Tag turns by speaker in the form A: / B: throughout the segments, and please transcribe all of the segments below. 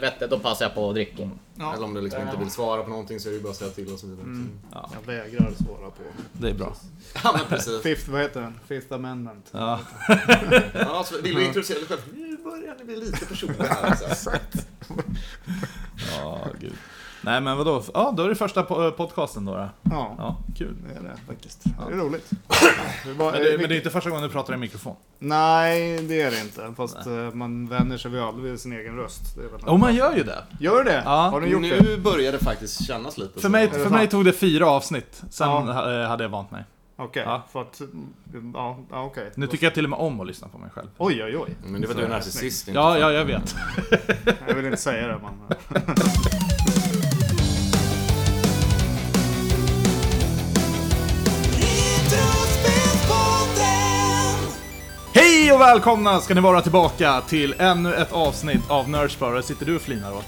A: helvete, då passar jag på att dricka.
B: Ja.
C: Eller om du liksom inte vill svara på någonting så är det bara att säga till och så vidare. Mm.
D: Ja,
B: Jag vägrar svara på.
D: det är bra.
C: Ja men precis.
B: Fifth, vad heter den? Fifth Amendment.
D: Ja.
C: Ja, så vill du introducera dig själv? Nu börjar ni bli lite personliga här alltså.
D: Ja, gud. Nej men vadå? Ja, då är det första po- podcasten då. då.
B: Ja,
D: Ja, kul.
B: det är det faktiskt.
D: Ja.
B: Det är roligt. Det var,
D: Men det, men det är inte första gången du pratar i mikrofon.
B: Nej, det är det inte. Fast eh, man vänjer sig väl aldrig vid sin egen röst. Det är väl
D: Och man gör ju det.
B: Gör det?
D: Oh. Ja.
B: Har ni gjort det?
C: Nu börjar det faktiskt kännas lite
D: För mig,
C: så.
D: för mig
B: sant?
D: tog det fyra avsnitt, sen
B: Ja.
D: ha- eh, hade jag vant mig.
B: Okej,
D: Ja.
B: för att... Ja, ja okej.
D: Nu tycker jag till och med om att lyssna på mig själv.
B: Oj, oj, oj.
C: Men det var du är narcissist inte
D: Ja, ja jag vet.
B: Jag vill inte säga det, men...
D: Hej och välkomna ska ni vara tillbaka till ännu ett avsnitt av Nördspar. sitter du och flinar åt?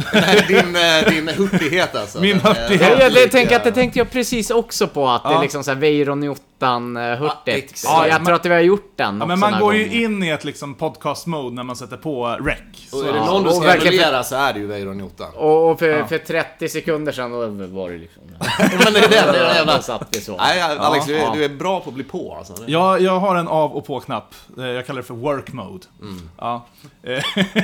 C: Nej, din, eh, din hurtighet alltså.
D: Min
C: Den, eh,
D: hurtighet.
A: Ja,
C: var
A: jag,
C: lika-
A: det, tänkte, att det tänkte jag precis också på, att det
D: Ja.
A: är liksom såhär Veiron i ottan eh, hurtigt.
C: exakt.
A: Så jag
D: Ja,
A: tror att vi har gjort den
D: Ja, men
A: också
D: man
A: några
D: går ju
A: gånger.
D: in i ett liksom podcast-mode när man sätter på rec.
C: Och
D: Så,
C: är det
A: Ja,
C: någon du
A: och
C: ska
A: verkligen-
C: emulera så är det ju Weiron i ottan.
A: Och, och för, för 30 sekunder sedan, då var det liksom...
C: Men det är det, det är det
A: Då
C: jävla...
A: satt det så.
C: Nej Alex, du, är,
A: Ja.
C: du är bra på att bli på alltså. Det-
D: jag, jag har en av och på-knapp. Eh, Jag kallar det för work mode. Ja. Eh,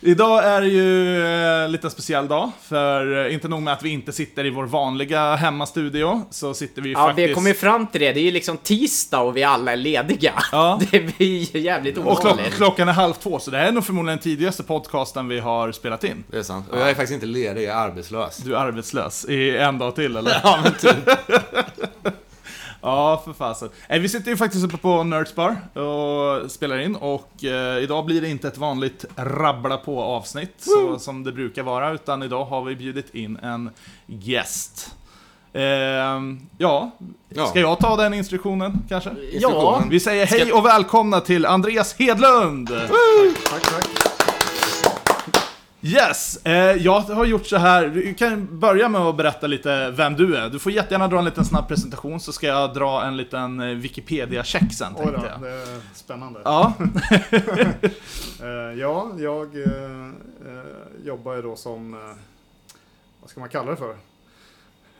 D: Idag är det ju eh, lite speciell dag, för eh, inte nog med att vi inte sitter i vår vanliga hemmastudio, så sitter vi ju
A: Ja,
D: faktiskt...
A: vi kom ju fram till det. Det är ju liksom tisdag och vi alla är lediga.
D: Ja.
A: Det blir ju jävligt
D: Och klock,
A: ovanligt.
D: klockan är halv två, så det här är nog förmodligen den tidigaste podcasten vi har spelat in.
C: Det är sant. Och jag är faktiskt inte ledig, jag är arbetslös.
D: Du är arbetslös i en dag till eller?
C: Ja, men typ.
D: ja, för fasen. Nej, vi sitter ju faktiskt uppe på Nerds Bar och spelar in och eh, idag blir det inte ett vanligt rabbla på avsnitt så, som det brukar vara utan idag har vi bjudit in en gäst. Ehm, ja,
C: Ja.
D: ska jag ta den instruktionen kanske?
A: Ja,
D: Vi säger hej och välkomna till Andreas Hedlund!
B: tack, tack.
D: Yes! Eh, jag har gjort så här, vi kan börja med att berätta lite vem du är. Du får jättegärna dra en liten snabb presentation så ska jag dra en liten eh, Wikipedia-check sen
B: Oj
D: tänkte
B: då,
D: jag.
B: det är spännande.
D: Ja,
B: Eh, ja, jag eh, eh, jobbar ju då som, eh, vad ska man kalla det för?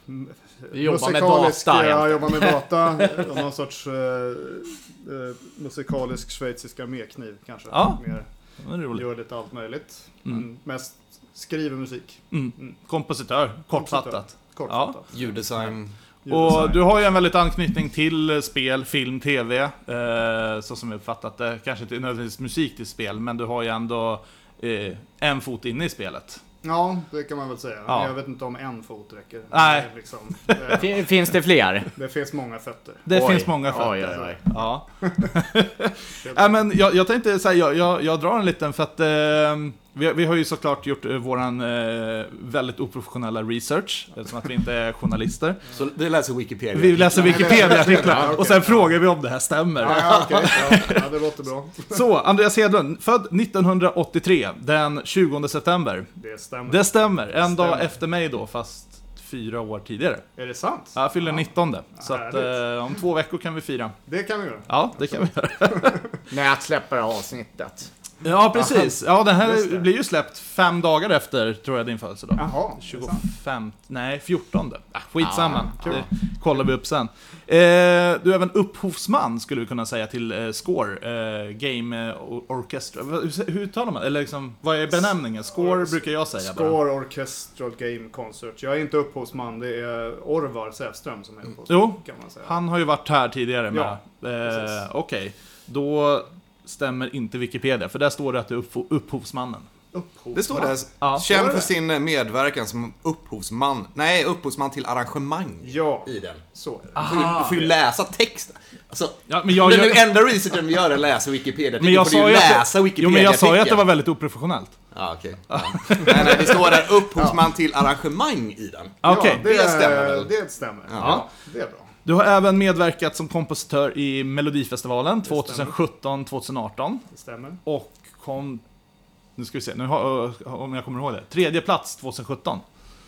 B: M-
A: Du jobbar med
B: musikalisk-
A: data,
B: Ja, jag
A: egentligen.
B: jobbar med data. eh, någon sorts eh, eh, musikalisk schweizisk armékniv kanske.
D: Ja.
B: Mer,
D: det är roligt.
B: gör lite allt möjligt.
D: Mm.
B: Men mest skriver musik,
D: Mm. Kompositör, kortfattat.
B: kortfattat.
C: Ljuddesign.
B: Ljuddesign.
D: Och du har ju en väldigt anknytning till eh, spel, film, TV, eh, så som jag uppfattat det. Kanske inte nödvändigtvis musik till spel, men du har ju ändå eh, en fot inne i spelet.
B: Ja, det kan man väl säga.
D: Ja.
B: Men jag vet inte om en fot räcker.
D: Nej.
B: Det är Liksom, eh,
A: Fin- Finns det fler?
B: det finns många fötter.
D: Det
A: Oj.
D: finns många fötter.
A: Oj, oj, oj.
D: Ja. Nej, men jag, jag tänkte säga, jag, jag, jag drar en liten för att eh, vi, vi har ju såklart gjort eh, våran eh, väldigt oprofessionella research, eftersom att vi inte är journalister.
C: Så det läser Wikipedia.
D: Vi läser
B: Nej, det- Ja,
D: Wikipedia-artiklar
B: okej.
D: och sen frågar vi om det här
B: Ja,
D: stämmer.
B: ja, okej. ja, ja, det låter bra.
D: Så, Andreas Hedlund, född 1983, den 20 september.
B: Det stämmer.
D: Det stämmer, en dag
B: Stämmer.
D: efter mig då, fast fyra år tidigare.
B: Är det sant?
D: Jag fyller 19, så att,
B: Härligt.
D: eh, om två veckor kan vi fira.
B: Det kan vi göra.
D: Ja, det kan vi göra.
A: När jag släpper det här avsnittet.
D: Ja, precis. Ja, den
B: Just
D: här
B: det.
D: blir ju släppt fem dagar efter, tror jag, din födelsedag.
B: Jaha, det är sant.
D: 25, nej 14. Ah, skitsamma,
A: Ah,
B: kul.
D: det kollar vi upp sen. Eh, du är även upphovsman skulle vi kunna säga till eh, Score, eh, Game eh, or- Orchestra. Vad- Hur, hur uttalar man Eller liksom, vad är benämningen? Score brukar jag säga bara.
B: Score Orchestral Game Concert. Jag är inte upphovsman, det är Orvar Säfström som är upphovsman.
D: Jo,
B: Kan man säga.
D: han har ju varit här tidigare med.
B: Ja,
D: eh,
B: precis.
D: Okej, då stämmer inte Wikipedia, för där står det att du är uppfo- upphovsmannen.
B: Upphovsman.
C: Det står det här.
D: Ja.
C: Känd för sin medverkan som upphovsman. Nej, upphovsman till arrangemang.
B: Ja,
C: I den.
B: så är
D: Ah,
B: det.
C: Du, du får ju läsa texten. Alltså,
D: Ja, men jag,
C: den
D: jag,
C: enda researchen vi gör är att läsa Wikipedia.
D: men jag
C: får du
D: sa
C: ju
D: ju att,
C: läsa
D: det-
C: Wikipedia.
D: jo, men jag sa ju att det var väldigt oprofessionellt.
C: Ja, okej. Ja. Nej, nej, det står där upphovsman till arrangemang i den.
D: Ah, Okej.
B: ja, det,
C: det stämmer väl?
B: Det stämmer. Ja. det är bra.
D: Du har även medverkat som kompositör i Melodifestivalen 2017-2018
B: Det stämmer.
D: och eh, kom... Nu ska vi se, nu har, om jag kommer ihåg det. Tredje plats 2017.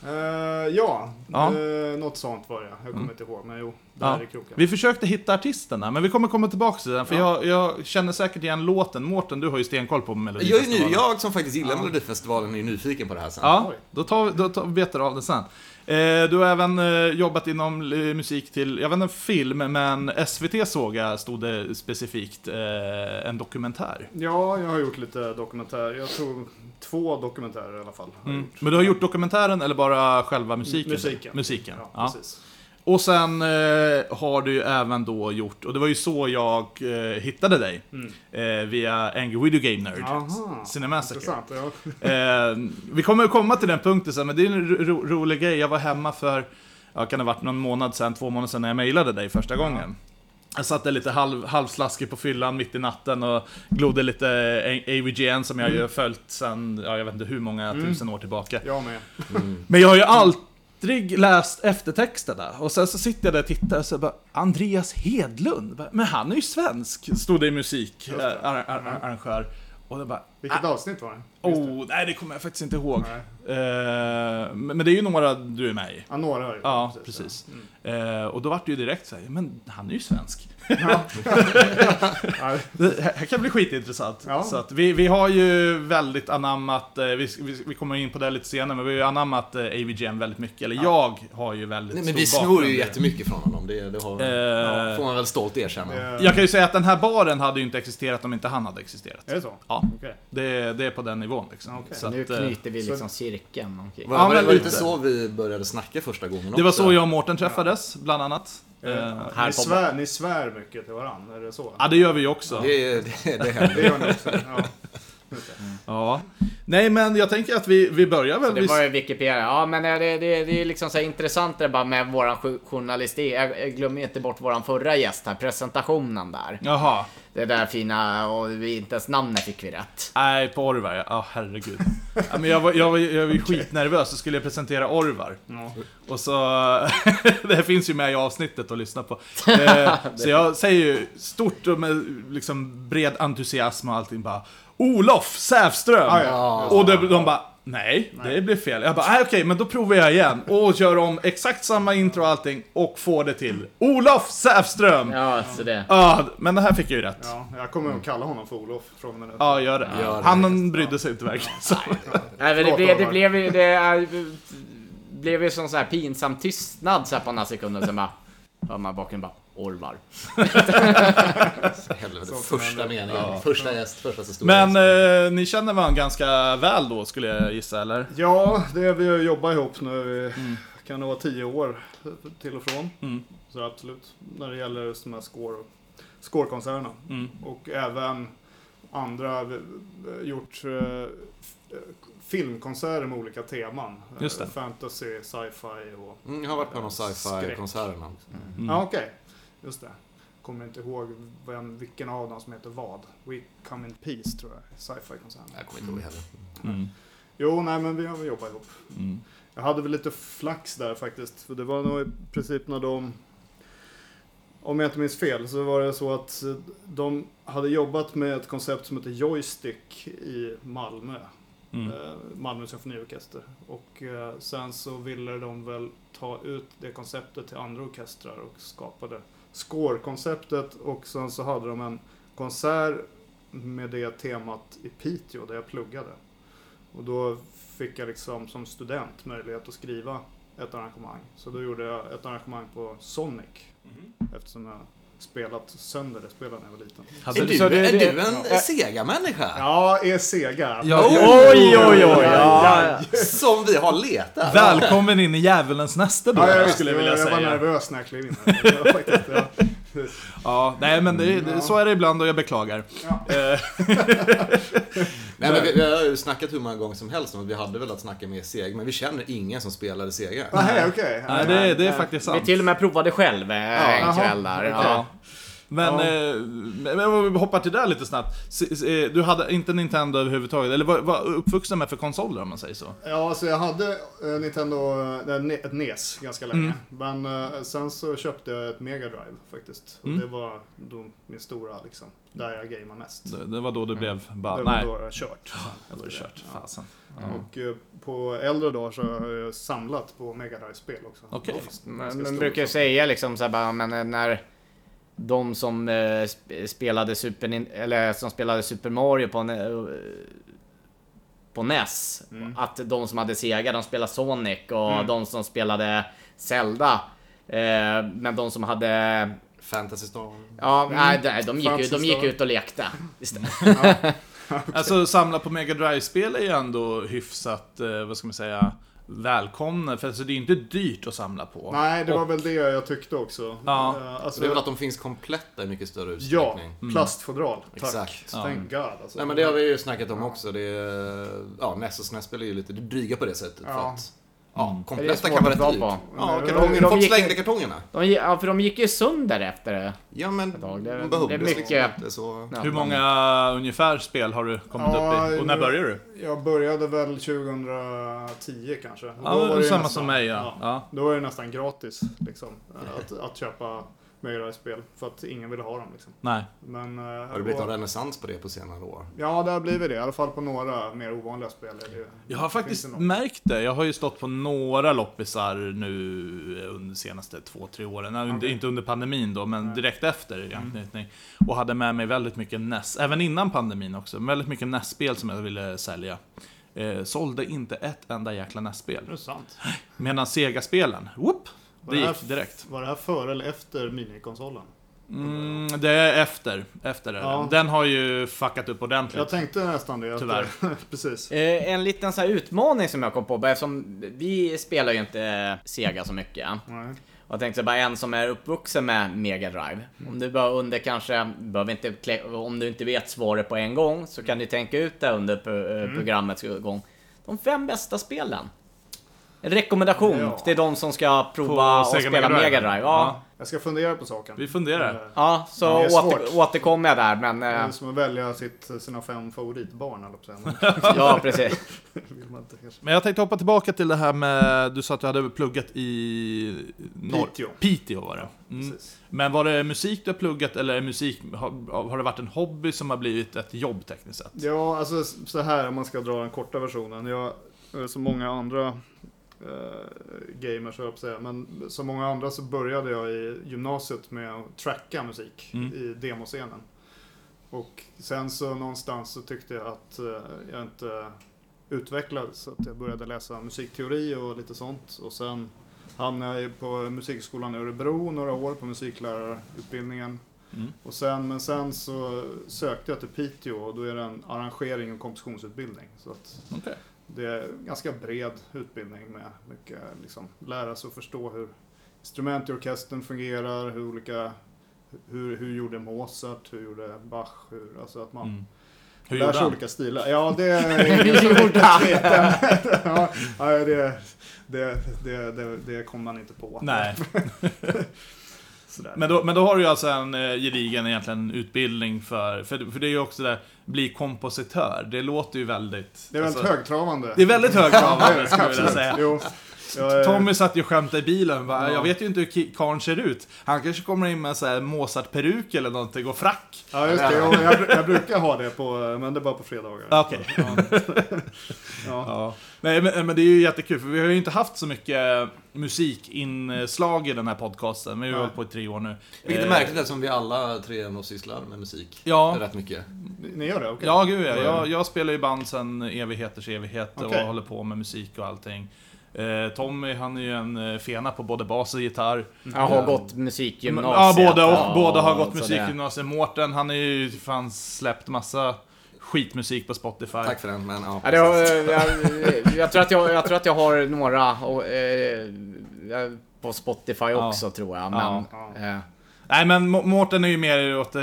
B: Eh, ja,
D: Ja.
B: Eh, något sånt var det. Jag kommer
D: Mm.
B: inte ihåg, men jo, där
D: Ja.
B: är kroken.
D: Vi försökte hitta artisterna, men vi kommer komma tillbaka till den, för jag, jag känner säkert igen låten. Mårten, du har ju stenkoll på
C: Jag, är
D: Melodifestivalen.
C: ju ny, jag som faktiskt gillar
B: Ja.
C: Melodifestivalen är ju nyfiken på det här sen.
D: Ja,
B: Oj.
D: då tar, vi- då tar vi betar av det sen. Eh, du har även eh, jobbat inom eh, musik till, jag vet inte, film, men SVT såg jag, stod det specifikt, eh, en dokumentär.
B: Ja, jag har gjort lite dokumentärer. Jag tror två dokumentärer i alla fall. har jag
D: Mm.
B: gjort.
D: Men du har gjort dokumentären eller bara själva musiken?
B: Musiken.
D: Musiken,
B: Ja,
D: ja.
B: precis.
D: Och sen eh, har du ju även då gjort, och det var ju så jag eh, hittade dig,
B: Mm.
D: eh, via Angry Video Game Nerd.
B: Aha,
D: Cinemassacre.
B: intressant. Ja.
D: Eh, vi kommer att komma till den punkten sen, men det är en ro- ro- rolig grej. Jag var hemma för, ja, kan det ha varit någon månad sen, två månader sen när jag mejlade dig första gången. Jag satt där lite halv, halvslaskig på fyllan mitt i natten och glodde lite eh, AVGN som jag
B: Mm.
D: ju har följt sen, ja, jag vet inte hur många tusen år tillbaka.
B: Jag med.
D: Men jag har ju aldrig läst eftertexterna. Och sen så sitter jag där och tittar och så bara, Andreas Hedlund? Bara, Men han är ju svensk, stod det i musik,
B: Just det.
D: eh, ar- ar- ar- arrangör. Och jag bara,
B: Vilket avsnitt var det? Just det.
D: Ah. Oh, nej det kommer jag faktiskt inte ihåg.
B: Nej.
D: Eh, men men det är ju några du är med i.
B: Ja, några har jag gjort.
D: Ja, precis.
B: ja. Mm.
D: Eh, och då vart det ju direkt såhär, men han är ju svensk.
B: Ja,
D: Det här kan bli skitintressant.
B: Ja.
D: Så att vi, vi har ju väldigt anammat, eh, vi, vi, vi kommer in på det lite senare, men vi har ju anammat eh, AVGN väldigt mycket. Eller jag har ju väldigt
C: Nej,
D: stor
C: men vi snor
D: bakgrund i
C: ju
D: det.
C: jättemycket från honom, det, det har,
D: Eh,
C: ja, får man väl stolt erkänna.
B: det-
D: Jag kan ju säga att den här baren hade ju inte existerat om inte han hade existerat.
B: Är det så?
D: Ja,
B: Okej.
D: det, det är på den nivån liksom.
B: Okej.
D: Så
A: nu
D: att, eh,
A: knyter vi
B: så-
A: liksom cirkeln omkring.
C: Var,
D: Ja,
C: var,
D: men
C: det- var det inte
D: lite.
C: så vi började snacka första gången
D: det var
C: också?
D: så jag och Mårten träffades, bland annat. Eh,
B: Eh,
A: här
B: Ni,
A: på-
B: svär, ni svär mycket till varandra, är det så?
D: Ja, det gör vi ju också.
C: Det, det, det
B: Det
C: hände.
B: gör ni också. Ja. Just det.
D: Ja. Nej, men jag tänker att vi, vi börjar väl.
A: Det var ju Wikipedia. Ja, men eh, det, det, det är liksom så här intressant det bara med våran jo- journalistik. Jag jag glömmer inte bort våran förra gäst här, presentationen där.
D: Jaha.
A: Det där fina och vi, inte ens namnet fick vi rätt.
D: Nej, på Orvar ja. Ah, herregud. ja, men jag, var, jag, var, jag var ju skitnervös, så skulle jag presentera Orvar.
B: Ja.
D: Och så... det här finns ju med i avsnittet att lyssna på. Eh, så jag säger ju stort och med liksom bred entusiasm och allting bara Olof Säfström!
B: Ah, ja.
D: Och de, de bara Nej, det blev fel. Jag bara, "Nej, okej, men då provar jag igen. Och gör om exakt samma intro och allting och får det till Olof Säfström!
A: Ja, så det.
D: Ja, men det här fick jag ju rätt.
B: Ja, jag kommer att kalla honom för Olof från den här.
D: Ja, gör det.
C: Gör det.
D: Han brydde sig inte verkligen. Så.
A: Nej, men det,
B: Förlåt,
A: blev, det
B: Oliver.
A: blev ju... Det är- blev ju sån så här pinsam tystnad så här på några sekunder. Sen bara... Hör man bakom bara... Orvar.
C: Helvete,
B: Sånt
C: första
B: händer.
C: meningen. Första gäst, första så stor
D: Men
C: gäst.
D: eh, ni känner varandra ganska väl då, skulle jag gissa, eller?
B: Ja, det är vi har jobbat ihop nu i, kan det vara tio år till och från.
D: Mm.
B: Så absolut, när det gäller just de här score, scorekonserterna.
D: Mm.
B: Och även andra, vi- vi- gjort eh, filmkonserter med olika teman.
D: Just det.
B: Eh, Fantasy, sci-fi och...
C: Mm, jag har varit på någon sci-fi-konserterna.
D: Mm.
B: Ja, okej. Just det. Kommer inte ihåg vem, vilken av dem som heter vad. We Come In Peace tror jag, sci-fi-konserten.
C: Jag kommer inte ihåg heller.
D: Mm.
B: Jo, nej men vi har väl jobbat ihop.
D: Mm.
B: Jag hade väl lite flax där faktiskt. För det var nog i princip när de... Om jag inte minns fel så var det så att de hade jobbat med ett koncept som heter Joystick i Malmö.
D: Mm.
B: Eh, Malmö symfoniorkester. Och eh, sen så ville de väl ta ut det konceptet till andra orkestrar och skapade score-konceptet. Och sen så hade de en konsert med det temat i Piteå där jag pluggade. Och då fick jag liksom som student möjlighet att skriva ett arrangemang. Så då gjorde jag ett arrangemang på Sonic eftersom jag spelat sönder det spelet när jag var liten.
D: Hade
C: Är
D: du-
C: du,
D: så det-
C: är
D: det-
C: du en eh, Sega-människa?
B: Ja, är sega.
D: Ja,
C: Oj,
A: Oj, oj, oj! Ja.
C: Som vi har letat.
D: Välkommen in i djävulens näste då,
B: Ja, jag,
D: skulle jag vilja
B: jag,
D: säga.
B: var nervös när jag klev in här. Det var faktiskt, ja.
D: Ja, nej men det, det, så är det ibland och jag beklagar.
B: Mm, Ja.
D: Eh,
C: Nej, men vi, vi har ju snackat hur många gånger som helst om att vi hade velat snacka med Sega, men vi känner ingen som spelade Sega.
B: Nej, okej.
D: nej, det, det är faktiskt
A: Vi
D: sant.
A: till och med provade själv eh, en
B: jaha.
A: kväll där. Ja.
D: Ja. Men,
B: Ja.
D: eh, men men om vi hoppar till det lite snabbt. S- s- eh, Du hade inte Nintendo överhuvudtaget, eller vad, vad uppvuxen med för konsoler om man säger så?
B: Ja, så jag hade eh, Nintendo, eh, ne- ett NES ganska länge. Men eh, sen så köpte jag ett Mega Drive faktiskt. Och
D: Mm.
B: det var då min stora liksom, där jag gameade mest.
D: Det, det var då du blev bara,
B: det var
D: nej,
B: då jag kört. sen efter
D: jag var
B: det.
D: kört.
B: Ja.
D: Fasen.
B: Och eh, på äldre dagar så har jag samlat på Mega Drive-spel också.
D: Okej.
B: Oftast en ganska
A: Man, man
B: stor
A: brukar ju
B: sån.
A: säga liksom så här, bara, men eh, när de som eh, sp- spelade Super Nin- eller som spelade Super Mario på, ne- eh, på NES,
B: Mm.
A: att de som hade Sega, de spelade Sonic och de som spelade Zelda, eh, men de som hade
C: Fantasy Storm.
A: Ja, nej, nej, de, gick ju, de
B: Fantastiskt
A: gick
B: Mm. då.
A: ut och lekte. Istället.
D: Alltså samla på Mega Drive-spel är ju ändå hyfsat, eh, vad ska man säga, välkomna. För alltså, det är ju inte dyrt att samla på.
B: Nej, det var
D: Och-
B: väl det jag tyckte också.
D: Ja. Mm.
B: Eh,
C: Så
B: alltså,
C: det är väl att de finns kompletta i mycket större
B: ja,
C: utsträckning.
B: plastfodral. Tack.
C: Exakt.
B: Thank God alltså.
C: Nej men det har vi ju snackat om också. Det är, ja, NES och SNES-spel är ju lite dryga på det sättet. För
B: Ja.
C: att, ja,
A: Det är svårt
C: kompletta kan vara
A: att ta
C: rätt dyrt.
A: på.
C: typ. Ja,
B: Men-
C: kartonger,
A: de
C: folk
A: gick-
C: slängde kartongerna.
A: De, gi- ja, för de gick ju sönder efter det.
C: Ja men,
A: tag. Det är-
C: de behövdes
A: det är mycket-
C: liksom inte så...
A: Ja.
D: Hur många ungefär spel har du kommit
B: Ja,
D: upp i? Och när
B: nu-
D: började du?
B: Jag började väl 2010 kanske. Och
D: Ja,
B: då var det ju
D: samma
B: nästan-
D: som mig ja. ja.
B: Då var det nästan gratis liksom, att, att köpa Mega-spel för att ingen ville ha dem. Liksom.
D: Nej.
B: Men, eh,
C: Har det blivit
B: och-
C: någon renässans på det på senare år?
B: Ja, det har blivit det. I alla fall på några mer ovanliga spel. Är det, ju-
D: Jag har
B: finns
D: faktiskt
B: det något?
D: märkt det. Jag har ju stått på några loppisar nu eh, under de senaste två, tre åren. Nej, Under,
B: Okej.
D: Inte under pandemin då, men
B: Nej. Mm.
D: direkt efter i anknytning. Och hade med mig väldigt mycket NES, även innan pandemin också, väldigt mycket NES-spel som jag ville sälja. Eh, sålde inte ett enda jäkla NES-spel.
B: Är det sant?
D: Medan Sega-spelen, whoop,
B: Var
D: det
B: här
D: gick
B: f-
D: direkt.
B: Var det här före eller efter minikonsolen?
D: Mm, det är efter, efter det.
B: Ja.
D: Den har ju fuckat upp ordentligt.
B: Jag tänkte nästan det. att-
D: Tyvärr.
B: Precis.
A: Eh, En liten så här utmaning som jag kom på, bara eftersom vi spelar ju inte eh, Sega så mycket.
B: Nej.
A: Och jag tänkte så bara en som är uppvuxen med Mega Drive. Om du bara under kanske, behöver inte, klä- om du inte vet svaret på en gång så kan du tänka ut det under pro- eh, programmets gång. De fem bästa spelen. En rekommendation
B: Ja.
A: till de som ska prova att
D: Sega
A: spela
D: Mega Drive.
A: Mega Drive. Ja.
B: Jag ska fundera på saken.
D: Vi funderar.
B: Eh,
A: Ja, så
B: Ja, det är
A: åter,
B: svårt.
A: återkommer jag där, men...
B: Det
A: eh,
B: är som att välja sitt, sina fem favoritbarn, höll jag på att säga.
A: ja, precis.
B: Men vill man inte kanske.
D: Men jag tänkte hoppa tillbaka till det här med, du sa att du hade pluggat i... norr-
B: Piteå.
D: Piteå var det. Mm.
B: Precis.
D: Men var det musik du har pluggat eller är musik, har, har det varit en hobby som har blivit ett jobb tekniskt sett?
B: Ja, alltså så här om man ska dra den korta versionen. Jag, eh, som många andra eh, gamers, höll jag på att säga, men som många andra så började jag i gymnasiet med att tracka musik
D: Mm.
B: i demoscenen. Och sen så någonstans så tyckte jag att eh, jag inte utvecklades, så att jag började läsa musikteori och lite sånt. Och sen hamnade jag ju på musikskolan i Örebro några år på musiklärarutbildningen.
D: Mm.
B: Och sen, men sen så sökte jag till Piteå och då är det en arrangering och kompositionsutbildning. Så att
D: Okej.
B: det är en ganska bred utbildning med mycket liksom, lära sig och förstå hur instrument i orkestern fungerar, hur olika hur, hur gjorde Mozart, hur gjorde Bach, hur, alltså att man
D: Mm. Hur
B: lär
D: gjorde
B: sig
D: han?
B: olika stilar. Ja, det är
A: Gjorde han?
B: ja, nej, det, det, det, det, det kom man inte på.
D: Nej,
B: Sådär.
D: men då, men då har du ju alltså en eh, gedigen egentligen utbildning för, för, för det är ju också det där, bli kompositör, det låter ju väldigt...
B: det är väldigt
D: alltså,
B: högtravande.
D: Det är väldigt högtravande skulle jag vilja
B: Absolut.
D: säga.
B: Jo, jag är-
D: Tommy satt ju och skämtade i bilen. Bara,
B: Ja.
D: Jag vet ju inte hur ki- karln ser ut. Han kanske kommer in med en sån här Mozart-peruk eller någonting och frack.
B: Ja just det, jag, jag, jag brukar ha det på, men det är bara på fredagar.
D: Okej.
B: Ja. ja.
D: Ja. Nej, men, men det är ju jättekul för vi har ju inte haft så mycket musikinslag i den här podcasten. Vi har ju
B: Nej.
D: hållit på i tre år nu.
C: Vilket är
D: Eh,
C: märkligt eftersom vi alla tre ändå sysslar med musik.
D: Ja.
C: Rätt mycket.
B: Ni gör det? Okej.
D: Ja, gud ja. Jag, jag spelar ju band sedan evigheters evighet och
B: Okej.
D: håller på med musik och allting. Eh, Tommy, han är ju en eh, fena på både bas och gitarr.
A: Jag har gått musikgymnasiet.
D: Ja, båda och. båda har gått
A: så det-
D: musikgymnasium. Mårten, han är ju fan släppt massa skitmusik på Spotify.
C: Tack för den, men ja.
A: Ja, det har, jag, jag, tror att jag, jag tror att jag har några och, eh, på Spotify eh, också tror jag. Men,
D: Ja.
B: Ja.
A: Eh,
D: Nej, men Må- Mårten är ju mer åt eh,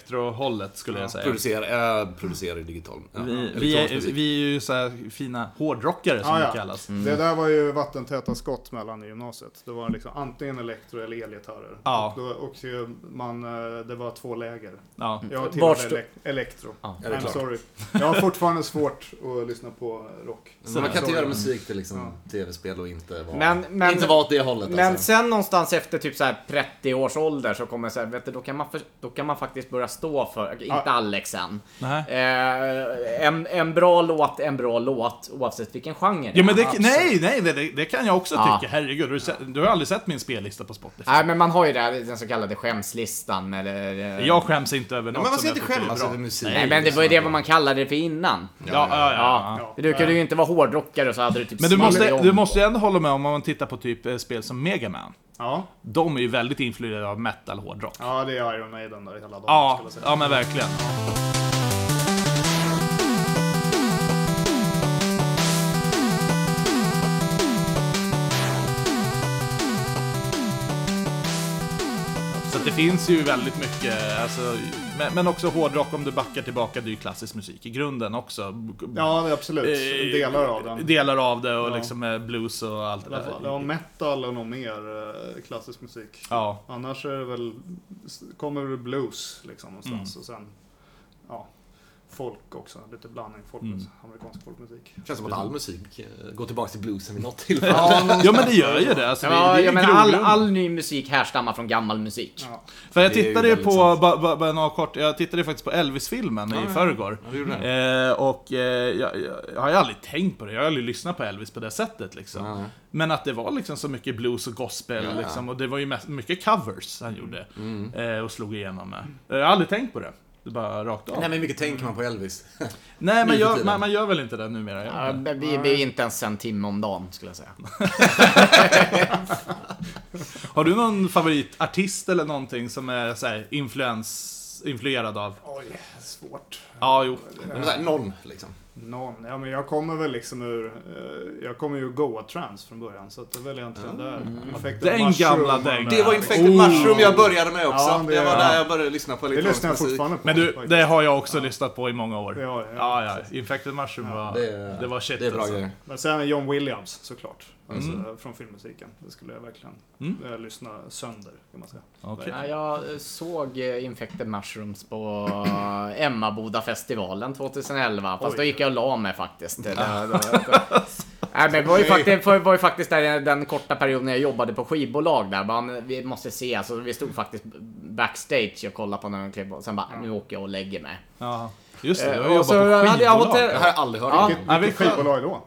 D: elektrohållet skulle jag säga.
C: Producerar, äh, producerar i digital. Ja,
D: Vi, vi,
C: elektronisk
D: är,
C: musik.
D: vi är ju så här fina hårdrockare som
B: Ah,
D: vi
B: ja.
D: kallas.
C: Mm.
B: Det där var ju vattentäta skott mellan i gymnasiet. Det var liksom antingen elektro eller elgitarrer.
D: Ja.
B: Och, då, och eh, man, eh, det var två läger.
D: Ja.
B: Jag
A: Vart
B: tillhörde
A: stå-
B: elek- elektro.
A: Ja.
C: Ja, det Mm. är
B: I'm
C: klart.
B: sorry. Jag har fortfarande svårt att lyssna på rock.
C: Så man kan inte
B: Sorry.
C: göra musik till liksom tv-spel och inte vara,
A: Men- men-
C: inte vara åt det hållet
A: Men
C: alltså.
A: sen någonstans efter typ så här 30 års ålder så kommer så här, vet du, då kan man, för, då kan man faktiskt börja stå för, inte
B: Ja.
A: Alex än.
D: Nej.
A: Eh, en, en bra låt, en bra låt oavsett vilken genre
D: Ja, men det,
A: är.
D: nej, nej, det, det kan jag också
A: Ja.
D: tycka. Herregud, har du, sett, du har aldrig sett min spellista på Spotify.
A: Nej men man har ju det, här, den så kallade skämslistan eller... eh,
D: Jag skäms inte över något
C: men man ska
D: som jag
C: inte
D: tycker är
C: skämmas
D: bra.
C: över musik.
A: Nej men det var ju det vad man kallade det för innan.
D: Ja, ja, ja. ja.
A: Ja. Du kunde ju inte vara hårdrockare och så hade du typ
D: Men du måste,
A: Smallion.
D: du måste ju ändå hålla med om, om man tittar på typ eh, spel som Mega Man.
B: Ja.
D: De är ju väldigt influerade av metal hårdrock.
B: ja, det är Iron Maiden där hela dagen.
D: Ja,
B: skulle jag säga.
D: ja men verkligen. Så att det finns ju väldigt mycket, alltså, men, men också hårdrock om du backar tillbaka, det är ju klassisk musik i grunden också.
B: Ja, det är absolut.
D: Eh,
B: Delar av den.
D: Delar av det och
B: Ja.
D: liksom eh, blues och allt det
B: I alla
D: där.
B: fall. Ja, metal och nog mer eh, klassisk musik.
D: Ja.
B: Annars är det väl, s- kommer det blues liksom någonstans
D: Mm.
B: och sen, ja, folk också. Lite blandning, folk,
D: Mm.
B: amerikansk folkmusik.
C: Det känns som att all musik eh, går tillbaka till bluesen vid något tillfälle.
D: ja, men det gör ju det. Alltså, det, det
A: Ja,
D: är
A: ja
D: ju
A: men all,
D: grogrunden.
A: all ny musik härstammar från gammal musik.
B: Ja.
D: För jag
C: Det är ju
D: tittade ju
C: väldigt
D: på,
C: sant.
D: bara ba, bara något kort, jag tittade ju faktiskt på Elvis-filmen i förrgår.
C: Ja, det gjorde det.
D: Eh, och eh, jag, jag, jag har ju aldrig tänkt på det, jag har aldrig lyssnat på Elvis på det sättet liksom.
C: Ja.
D: Men att det var liksom så mycket blues och gospel
C: Ja.
D: liksom, och det var ju mest, mycket covers han gjorde.
C: Mm.
D: Eh, och slog igenom med. Eh, Jag har aldrig tänkt på det. Det är bara rakt av.
C: Nej
D: Nej,
C: men hur mycket tänker man på Elvis?
D: men
C: nu för
D: jag,
C: tiden.
D: man, man gör väl inte det numera? gör man
A: Ja,
D: det?
A: men vi, vi är inte ens en timme om dagen skulle jag säga.
D: Har du någon favoritartist eller någonting som är så här, influens, influerad av?
B: Oj, svårt.
D: Ja, jo.
C: Men så här, någon liksom.
B: Eh, Någon. Ja, men jag kommer väl liksom ur... Eh, jag kommer ju Goa Trance från början, så att det är väl egentligen där. Infected
D: Ah. Mm. Den
B: Mushroom
D: gamla
B: och de
D: dängan.
B: där.
C: Det var Infected Mushroom jag började med också.
B: Oh. Ja, det-
C: jag var
B: ja.
C: där jag började lyssna på
B: Det
C: elektronisk
B: lyssnar jag
C: musik.
B: fortfarande på.
D: Men du,
B: faktiskt.
D: det har jag också lyssnat på i många år.
B: Det har jag,
D: ja, ja. Infected Mushroom var,
C: Det
D: det,
C: är-
D: var shit
C: Det är bra
D: alltså.
C: grejer.
B: Men sen är John Williams såklart. Alltså,
D: Mm.
B: Från filmmusiken. Det skulle jag verkligen eh, lyssna sönder, kan man säga.
D: Okej.
A: Ja, jag eh, såg eh, Infected Mushrooms på eh, Emmabodafestivalen 2011. Fast
B: Oj.
A: då gick jag och la mig faktiskt. Det- det- det- Nej men det var ju faktiskt, det var ju faktiskt där, den korta perioden jag jobbade på skivbolag där. Bara, men vi måste se, alltså, vi stod faktiskt backstage och kollade på när de klev på. Sen bara, nu åker jag och lägger mig.
D: Ja. Just det, du
A: Eh,
D: har
A: och
D: jobbat
A: så
D: på
A: hade jag hotell-
C: Det
D: skivbolag.
C: har jag aldrig hört
A: Ja.
C: innan.
D: Ja,
B: Vilket
D: vi-
B: skivbolag då?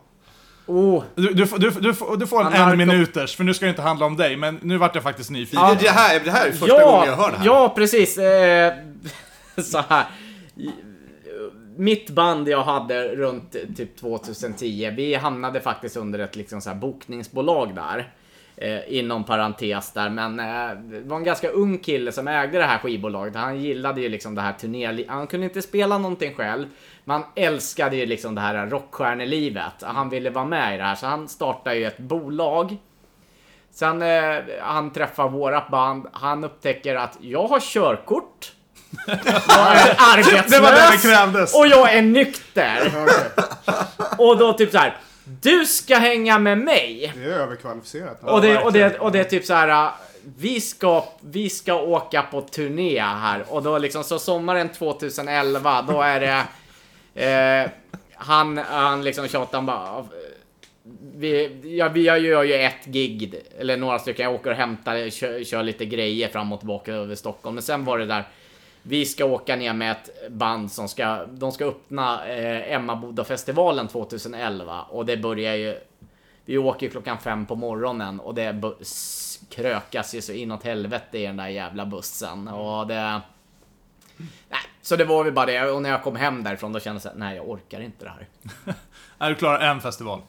A: Oh,
D: Du, du, får- du, du, får- du får en
A: Anarcho-
D: en minuters, för nu ska det inte handla om dig, men nu vart jag faktiskt nyfiken.
C: Det, det, här, det här är första gången jag hör det här.
A: Ja, precis. Eh, så här. I- Mitt band jag hade runt typ 2010, vi hamnade faktiskt under ett liksom så här bokningsbolag där. Eh, inom parentes där, men eh, det var en ganska ung kille som ägde det här skivbolaget. Han gillade ju liksom det här turné... Han kunde inte spela någonting själv, men han älskade ju liksom det här rockstjärnelivet. Han ville vara med i det här, så han startade ju ett bolag. Sen eh, han träffar vårat band, han upptäcker att jag har körkort. Jag är arbetslös.
D: Det var det det krävdes.
A: Och jag är nykter. Och då typ så här. Du ska hänga med mig.
B: Det är överkvalificerat.
A: Och det, och det, och det är typ så här. äh, Vi ska, vi ska åka på turné här. Och då liksom, så sommaren 2011, då är det... Eh, han, han liksom tjatar, han bara... "Ah, Vi, ja, vi jag gör ju ett gig, eller några stycken. Jag åker och hämtar, kör, kör lite grejer fram och tillbaka över Stockholm. Men sen var det där... Vi ska åka ner med ett band som ska, de ska öppna eh, Emmabodafestivalen 2011 och det börjar ju, vi åker klockan fem på morgonen och det bu- s- krökas ju så inåt helvete i den där jävla bussen och det... Nej, så det var väl bara det och när jag kom hem därifrån då kände jag såhär, nej jag orkar inte det här.
D: Är du klarar en festival?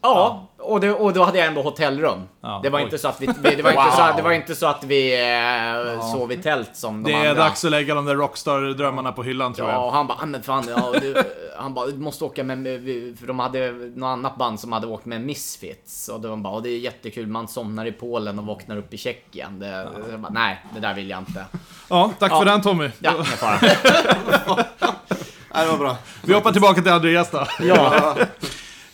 A: Ja, och, det, och då hade jag ändå hotellrum.
D: Ja,
A: det var
D: oj.
A: inte så att vi, vi det, var inte så, det var inte så att vi eh, sov i tält som de
D: Det
A: andra.
D: är dags att lägga de där rockstar-drömmarna på hyllan tror
A: Ja,
D: jag.
A: och han bara, "Ah, men fan, ja, du, han bara, du måste åka med, med- för de hade något annat band som hade åkt med Misfits. Och de bara, "Ja, det är jättekul, man somnar i Polen och vaknar upp i Tjeckien. Det, jag bara, nej, det där vill jag inte.
D: Ja, tack för
A: Ja.
D: den Tommy.
A: Ja, ingen fara.
C: Nej, det var bra.
D: Vi hoppar tillbaka till Andreas då.
A: ja.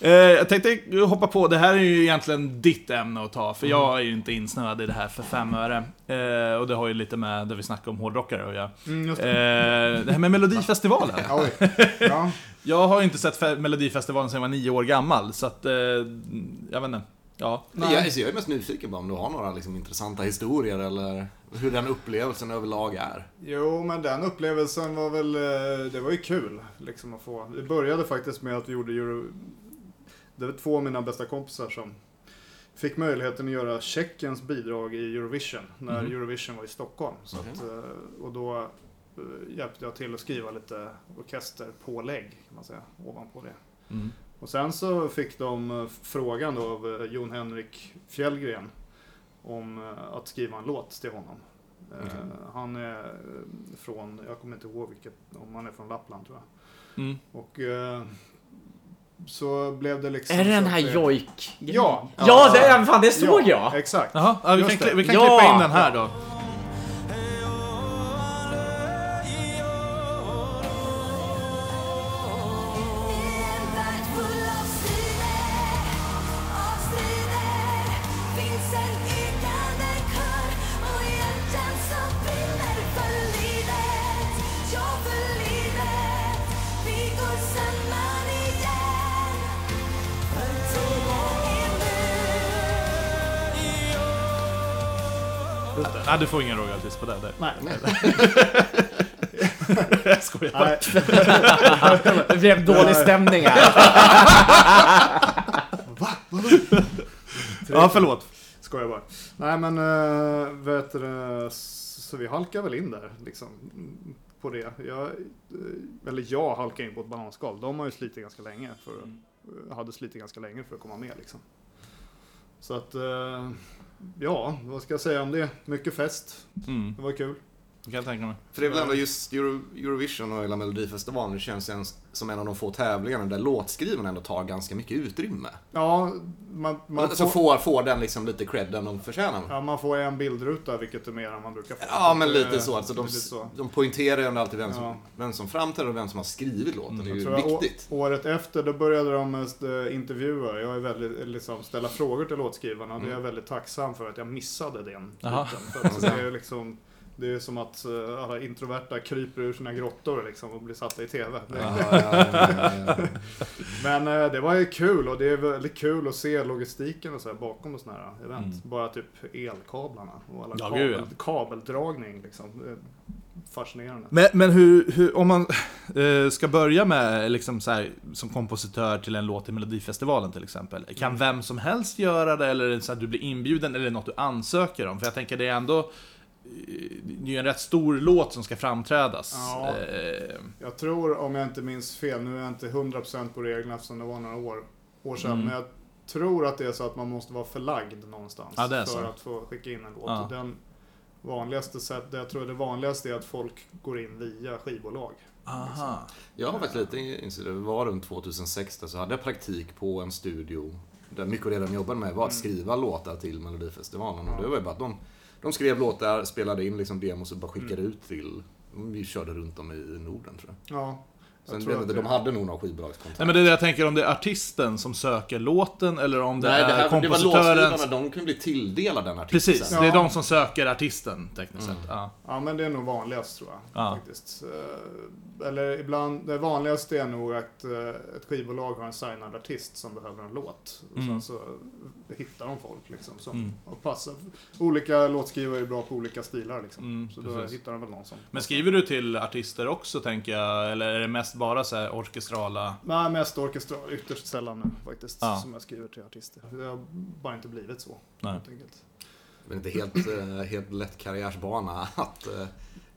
D: Eh, jag tänkte hoppa på, det här är ju egentligen ditt ämne att ta, för jag är ju inte insnöad i det här för fem öre. Eh, och det har ju lite med det vi snackade om hårdrockare att göra.
B: Mm, just det.
D: Eh, det här med Melodifestivalen.
B: Ja, Oj. Ja.
D: Jag har ju inte sett fe- Melodifestivalen sedan jag var nio år gammal, så att... Eh, jag vet inte. Ja.
B: Nej.
C: Jag, så jag är mest nyfiken på om du har några liksom, intressanta historier eller hur den upplevelsen överlag är.
B: Jo, men den upplevelsen var väl, eh, det var ju kul liksom att få. Det började faktiskt med att vi gjorde Euro... Det var två av mina bästa kompisar som fick möjligheten att göra Tjeckiens bidrag i Eurovision när
D: Mhm.
B: Eurovision var i Stockholm. Så
C: Okej.
B: att, eh, och då eh, hjälpte jag till att skriva lite orkesterpålägg kan man säga, ovanpå det.
D: Mm.
B: Och sen så fick de eh, frågan då av eh, Jon Henrik Fjällgren om eh, att skriva en låt till honom. Eh,
C: Okej.
B: Han är eh, från, jag kommer inte ihåg vilket, om han är från Lappland tror jag.
D: Mm.
B: Och eh, så blev det liksom...
A: Är det den
B: så att
A: här jojk
B: Ja.
A: Ja, det, är- fan, det såg
B: ja,
A: jag!
B: Exakt.
D: Jaha, ja, vi
B: Just
D: kan, kli-
B: det.
D: vi kan
A: Ja!
D: klippa in den här då.
E: Samman igen
D: Ja, du får ingen royalties på det. Där.
B: Nej.
D: Jag skojar bara.
B: Nej.
A: Det blev dålig stämning här.
D: Ja, förlåt.
B: Skojar bara. Nej men, äh, vet du, eh, så vi halkar väl in där liksom. mm, På det. Jag, eh, eller jag halkar in på ett bananskal. De har ju slitit ganska länge för,
A: Mm.
B: eh, hade slitit ganska länge för att komma med liksom. Så att, eh, ja, vad ska jag säga om det? Mycket fest.
D: Mm,
B: Det var kul.
D: det kan jag tänka mig.
C: För det är väl ändå just Euro, Eurovision och hela Melodifestivalen, det känns ju ens som en av de få tävlingarna där låtskrivarna ändå tar ganska mycket utrymme.
B: Ja, man, man,
C: så
B: får,
C: får, får den liksom lite credden de förtjänar.
B: ja, man får en bildruta, vilket är mer än man brukar få.
C: Ja, men lite
B: Eh,
C: så. Alltså, de,
B: lite så.
C: de poängterar ju ändå alltid vem som,
B: Ja.
C: vem som framträder och vem som har skrivit låten.
D: Mm,
C: det är
B: Jag
C: ju
B: tror jag, å-
C: viktigt.
B: året efter då började de mest eh, intervjua. Jag är väldigt, eh, liksom, ställa frågor till låtskrivarna. Det är jag väldigt tacksam för att jag missade den
D: Jaha.
B: biten. För att det är ju liksom, det är som att eh, alla introverta kryper ur sina grottor liksom, och blir satta i TV. Det-
C: Ja, ja, ja, ja, ja.
B: Men eh, det var ju kul och det är väldigt kul att se logistiken och så här bakom och sådana här event. Bara typ elkablarna och alla
D: Ja,
B: kabel,
D: gud,
B: kabeldragning liksom. Eh, Fascinerande.
D: Men, men hur, hur, om man eh, ska börja med liksom så här, som kompositör till en låt i Melodifestivalen till exempel. Kan
C: Mm.
D: vem som helst göra det eller är det så att du blir inbjuden eller något du ansöker om? För jag tänker det är ändå eh, det är ju en rätt stor låt som ska framträdas.
B: Ja.
D: Eh,
B: Jag tror, om jag inte minns fel, nu är jag inte 100% på reglerna eftersom det var några år, år sedan,
D: Mm.
B: men jag tror att det är så att man måste vara förlagd någonstans
D: Ja, det är
B: för
D: så.
B: att få skicka in en låt.
D: Ja.
B: Den vanligaste sätt, det jag tror det vanligaste är att folk går in via skivbolag.
D: aha.
C: Jag har faktiskt lite incident. Det var runt 2006 där, så hade jag praktik på en studio där mycket av det de jobbade med var att skriva låtar till Melodifestivalen. Och det var ju bara att de, de skrev låtar, spelade in liksom demos och bara skickade ut till... Vi körde runt om i Norden tror jag.
B: Ja, jag
C: Sen,
B: tror
C: jag vet
B: att
C: inte,
B: det-
C: de hade nog någon skivbolagskontrakt.
D: Nej men det är det jag tänker om det är artisten som söker låten eller om det
C: Nej, det, här,
D: är
C: det var
D: kompositören.
C: låtskrivarna, de kunde bli tilldelade den artisten.
D: Precis,
B: Ja.
D: det är de som söker artisten tekniskt
C: Mm.
D: sett. Ja.
B: Ja, men det är nog vanligast tror jag.
D: Ja.
B: Faktiskt. Eh, Eller ibland, det vanligaste är nog att eh, ett skivbolag har en signad artist som behöver en låt. Och
D: Mm.
B: sen så hittar de folk liksom som och passar. Olika låtskrivare är bra på olika stilar liksom.
D: Mm,
B: så då
D: precis.
B: hittar de väl någon som...
D: Men skriver du till artister också tänker jag, eller är det mest bara så här orkestrala?
B: Nej, mest orkestral. Ytterst sällan nu faktiskt
D: Ja.
B: som jag skriver till artister. Det har bara inte blivit så.
D: Nej.
B: helt enkelt.
C: Men inte helt, eh, helt lätt karriärsbana att eh,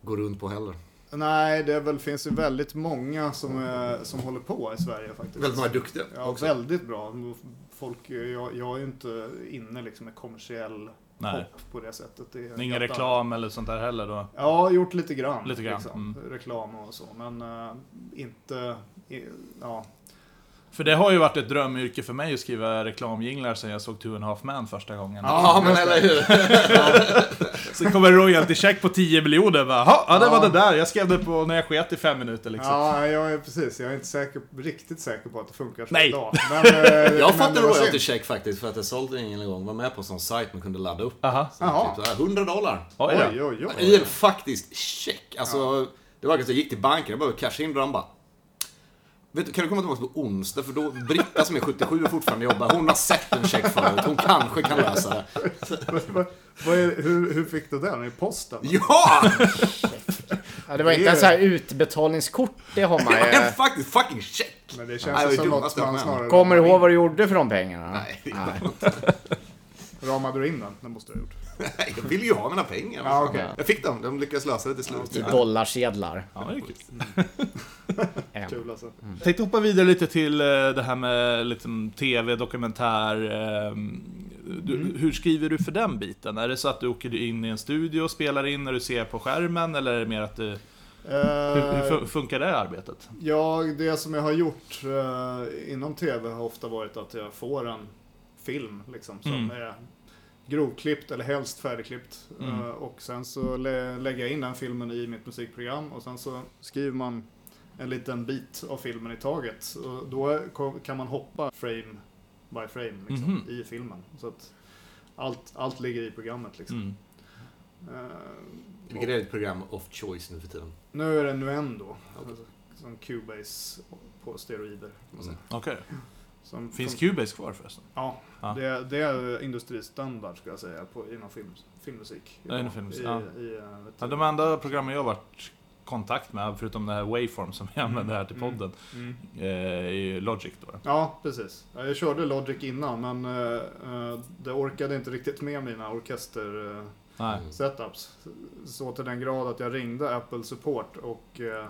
C: gå runt på heller.
B: Nej, det är väl, finns ju väldigt många som, är, som håller på i Sverige faktiskt.
C: Väldigt många duktiga
B: Ja,
C: också.
B: väldigt bra. Folk, jag, jag är ju inte inne liksom med kommersiell
D: Nej.
B: pop på det sättet. Det är
D: Det är Ingen
B: helt annat.
D: reklam eller sånt där heller då?
B: Ja, gjort lite grann.
D: Lite grann,
B: Liksom. Reklam och så, men eh, inte i, ja,
D: För det har ju varit ett drömyrke för mig att skriva reklamjinglar sen jag såg Two and a half man första gången.
C: Ja, men eller hur?
D: Sen kommer royalty-check på 10 miljoner. Bara, "Ha, ja, det var det där. Jag skrev det på när jag sket i fem minuter liksom.
B: Ja, jag är precis. Jag är inte säker, riktigt säker på att det funkar så
D: Nej.
B: idag. Men, eh,
C: Jag
B: men
C: fattade
B: det var
C: royalty
B: synd.
C: check faktiskt för att jag sålde ingen gång. Var med på en sån sajt man kunde ladda upp.
D: Aha.
C: Så
B: Jaha.
C: Typ så här, 100 dollar.
D: Oj, då.
B: Oj, oj, oj.
C: I en faktisk check. Alltså, det var att jag gick till banken, jag behövde casha in och de bara Vet du, kan du komma tillbaka på onsdag? För då, Britta som är 77 och fortfarande jobbar, hon har sett en check förut. Hon kanske kan lösa det.
B: Vad- vad är, hur, hur fick du den? I posten?
C: Ja!
A: Ja, det var inte ens så här utbetalningskort, det har man
C: Det var
A: ju.
C: en faktisk fucking check!
B: Men det
C: Nej, alltså,
B: känns
C: det
B: ju
C: är
B: som
C: dumt
B: något
C: att jag
B: man
C: med.
B: snarare
A: Kommer du
B: ramar
A: ihåg vad du gjorde för de pengarna?
C: Nej,
B: in. Ramade du in den? Det måste du ha gjort.
C: nej, jag ville ju ha mina pengar.
B: Ja, okej.
C: Jag fick dem, de lyckades lösa det till slut.
A: I dollarsedlar.
D: Ja, det är kul.
A: En.
B: Kul alltså.
D: Jag tänkte hoppa vidare lite till eh, det här med liksom, tv, dokumentär. ehm, Du, Hur skriver du för den biten? Är det så att du åker in i en studio och spelar in när du ser på skärmen? Eller är det mer att du... Hur, hur
B: Eh,
D: fun- funkar det arbetet?
B: Ja, det som jag har gjort eh, inom tv har ofta varit att jag får en film liksom, som
D: Mm.
B: är grovklippt eller helst färdigklippt.
D: Mm.
B: Eh, och sen så lä- lägger jag in den filmen i mitt musikprogram och sen så skriver man en liten bit av filmen i taget. Och då ko- kan man hoppa frame by frame liksom,
D: Mhm.
B: i filmen. Så att allt, allt ligger i programmet. Liksom.
D: Mm.
B: Eh, och-
C: Vilket är ett program of choice nu för tiden.
B: nu är det Nuendo,
C: Okej.
B: alltså, som Cubase på steroider. kan man säga.
C: Mm.
D: Okej.
B: Som,
D: Finns
B: som,
D: Cubase kvar förresten?
B: Ja,
D: Ja.
B: Det, det är industristandard ska jag säga på, inom film, filmmusik.
D: Ja, inom filmmusik,
B: I,
D: ja.
B: i, eh, vet du-
D: Ja, de enda programmen jag har varit i kontakt med, förutom det här Waveform som vi använder här till
B: Mm.
D: podden,
B: Mm.
D: eh, är ju Logic då.
B: Ja, precis. Ja, Jag körde Logic innan men eh, eh, det orkade inte riktigt med mina orkester eh,
D: Nej.
C: Mm.
B: setups. Så till den grad att jag ringde Apple Support och eh,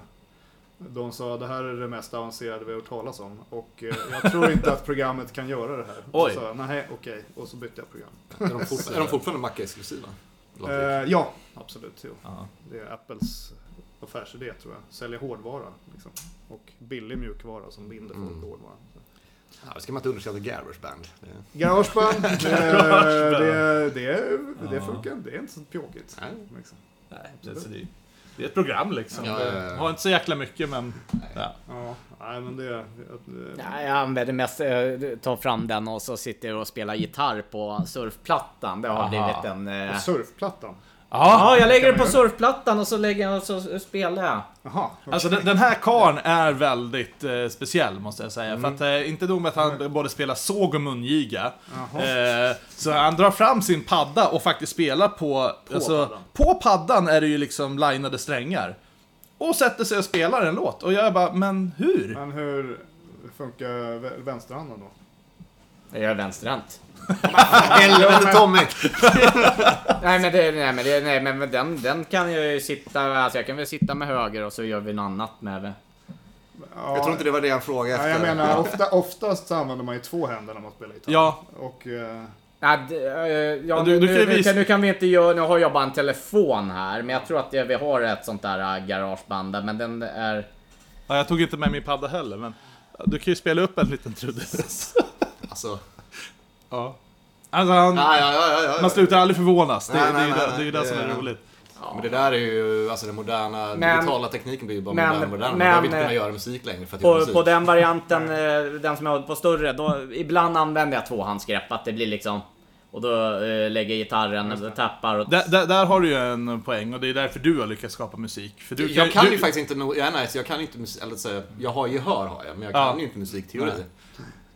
B: de sa det här är det mest avancerade vi har hört talas om och eh, jag tror inte att programmet kan göra det här.
D: Oj.
B: Så, nej, okej. Och så bytte jag program.
C: Är de fortfar- är de fortfarande Mac-exklusiva?
B: Eh, ja, absolut. Jo.
D: Ja.
B: Det är Apples affärsidé tror jag. Sälja hårdvara. Liksom. Och billig mjukvara som binder folk
C: Mm.
B: på hårdvara. Så.
C: Ja, det ska man inte underskatta Garageband. Det är-
B: Garageband, det, det, det, det
D: Ja.
B: funkar. Det är inte så pjåkigt.
C: Nej.
B: Liksom.
D: Nej, det, så det, det är ett program liksom.
C: Ja, ja, ja.
D: Det har inte så jäkla mycket men... Ja.
B: Ja, nej men det... det
A: Nej, jag använder mest, eh, tar fram den och så sitter jag och spelar gitarr på surfplattan. Det har
D: Aha.
A: blivit en... eh,
B: och surfplattan.
A: Ja, jag lägger
B: kan
A: den på
B: man
A: surfplattan och så lägger jag och så spelar jag.
B: Jaha.
D: Alltså den, den här karn är väldigt eh, speciell måste jag säga. För att eh, inte nog med att han både spelar såg och mungiga. Eh, så han drar fram sin padda och faktiskt spelar på... På,
B: paddan.
D: på paddan är det ju liksom linade strängar. Och sätter sig och spelar en låt. Och jag bara, men hur?
B: Men hur funkar vä- vänsterhanden då?
A: Jag är vänsterhänt.
C: Helvete Tommy!
A: Nej men, det, nej, men, det, nej, men men den, den kan jag ju sitta, alltså jag kan väl sitta med höger och så gör vi något annat med
B: Ja,
C: Jag tror inte det var det han frågade
B: ja,
C: efter.
B: jag menar, ofta, oftast så använder man ju två händer när man spelar gitarr.
D: Ja,
B: Och... eh,
A: Ja, d- eh, ja, nu,
D: du- du kan ju
A: nu, nu,
D: visa-
A: kan, nu kan vi inte göra, nu har jag bara en telefon här, men jag tror att det, vi har ett sånt där äh, garageband där, men den är...
D: ja, jag tog inte med min padda heller men... Du kan ju spela upp en liten trudelutt.
C: Alltså,
D: ja. Alltså han,
C: ja, ja, ja, ja, ja.
D: man slutar aldrig förvånas. Det,
C: Nej,
D: det, är ju
C: nej,
D: det,
C: nej,
D: det är ju det
C: nej.
D: som
C: Det-
D: är roligt.
C: Men det där är ju, alltså den moderna
A: Men-
C: digitala tekniken blir ju bara
A: men-
C: modern och modern. Man
A: men-
C: behöver inte kunna göra musik längre för att göra
A: På,
C: musik.
A: på den varianten, eh, den som jag har på större, då, ibland använder jag tvåhandsgrepp, att det blir liksom... Och då eh, lägger gitarren, och tappar och...
D: Där, där, där har du ju en poäng och det är därför du har lyckats skapa musik. För du
C: jag kan
D: du,
C: ju faktiskt inte, no- ja, nej, så jag kan inte musik, eller säga, jag har gehör har jag, men jag
D: Ja.
C: kan ju inte musikteori.
D: Nej.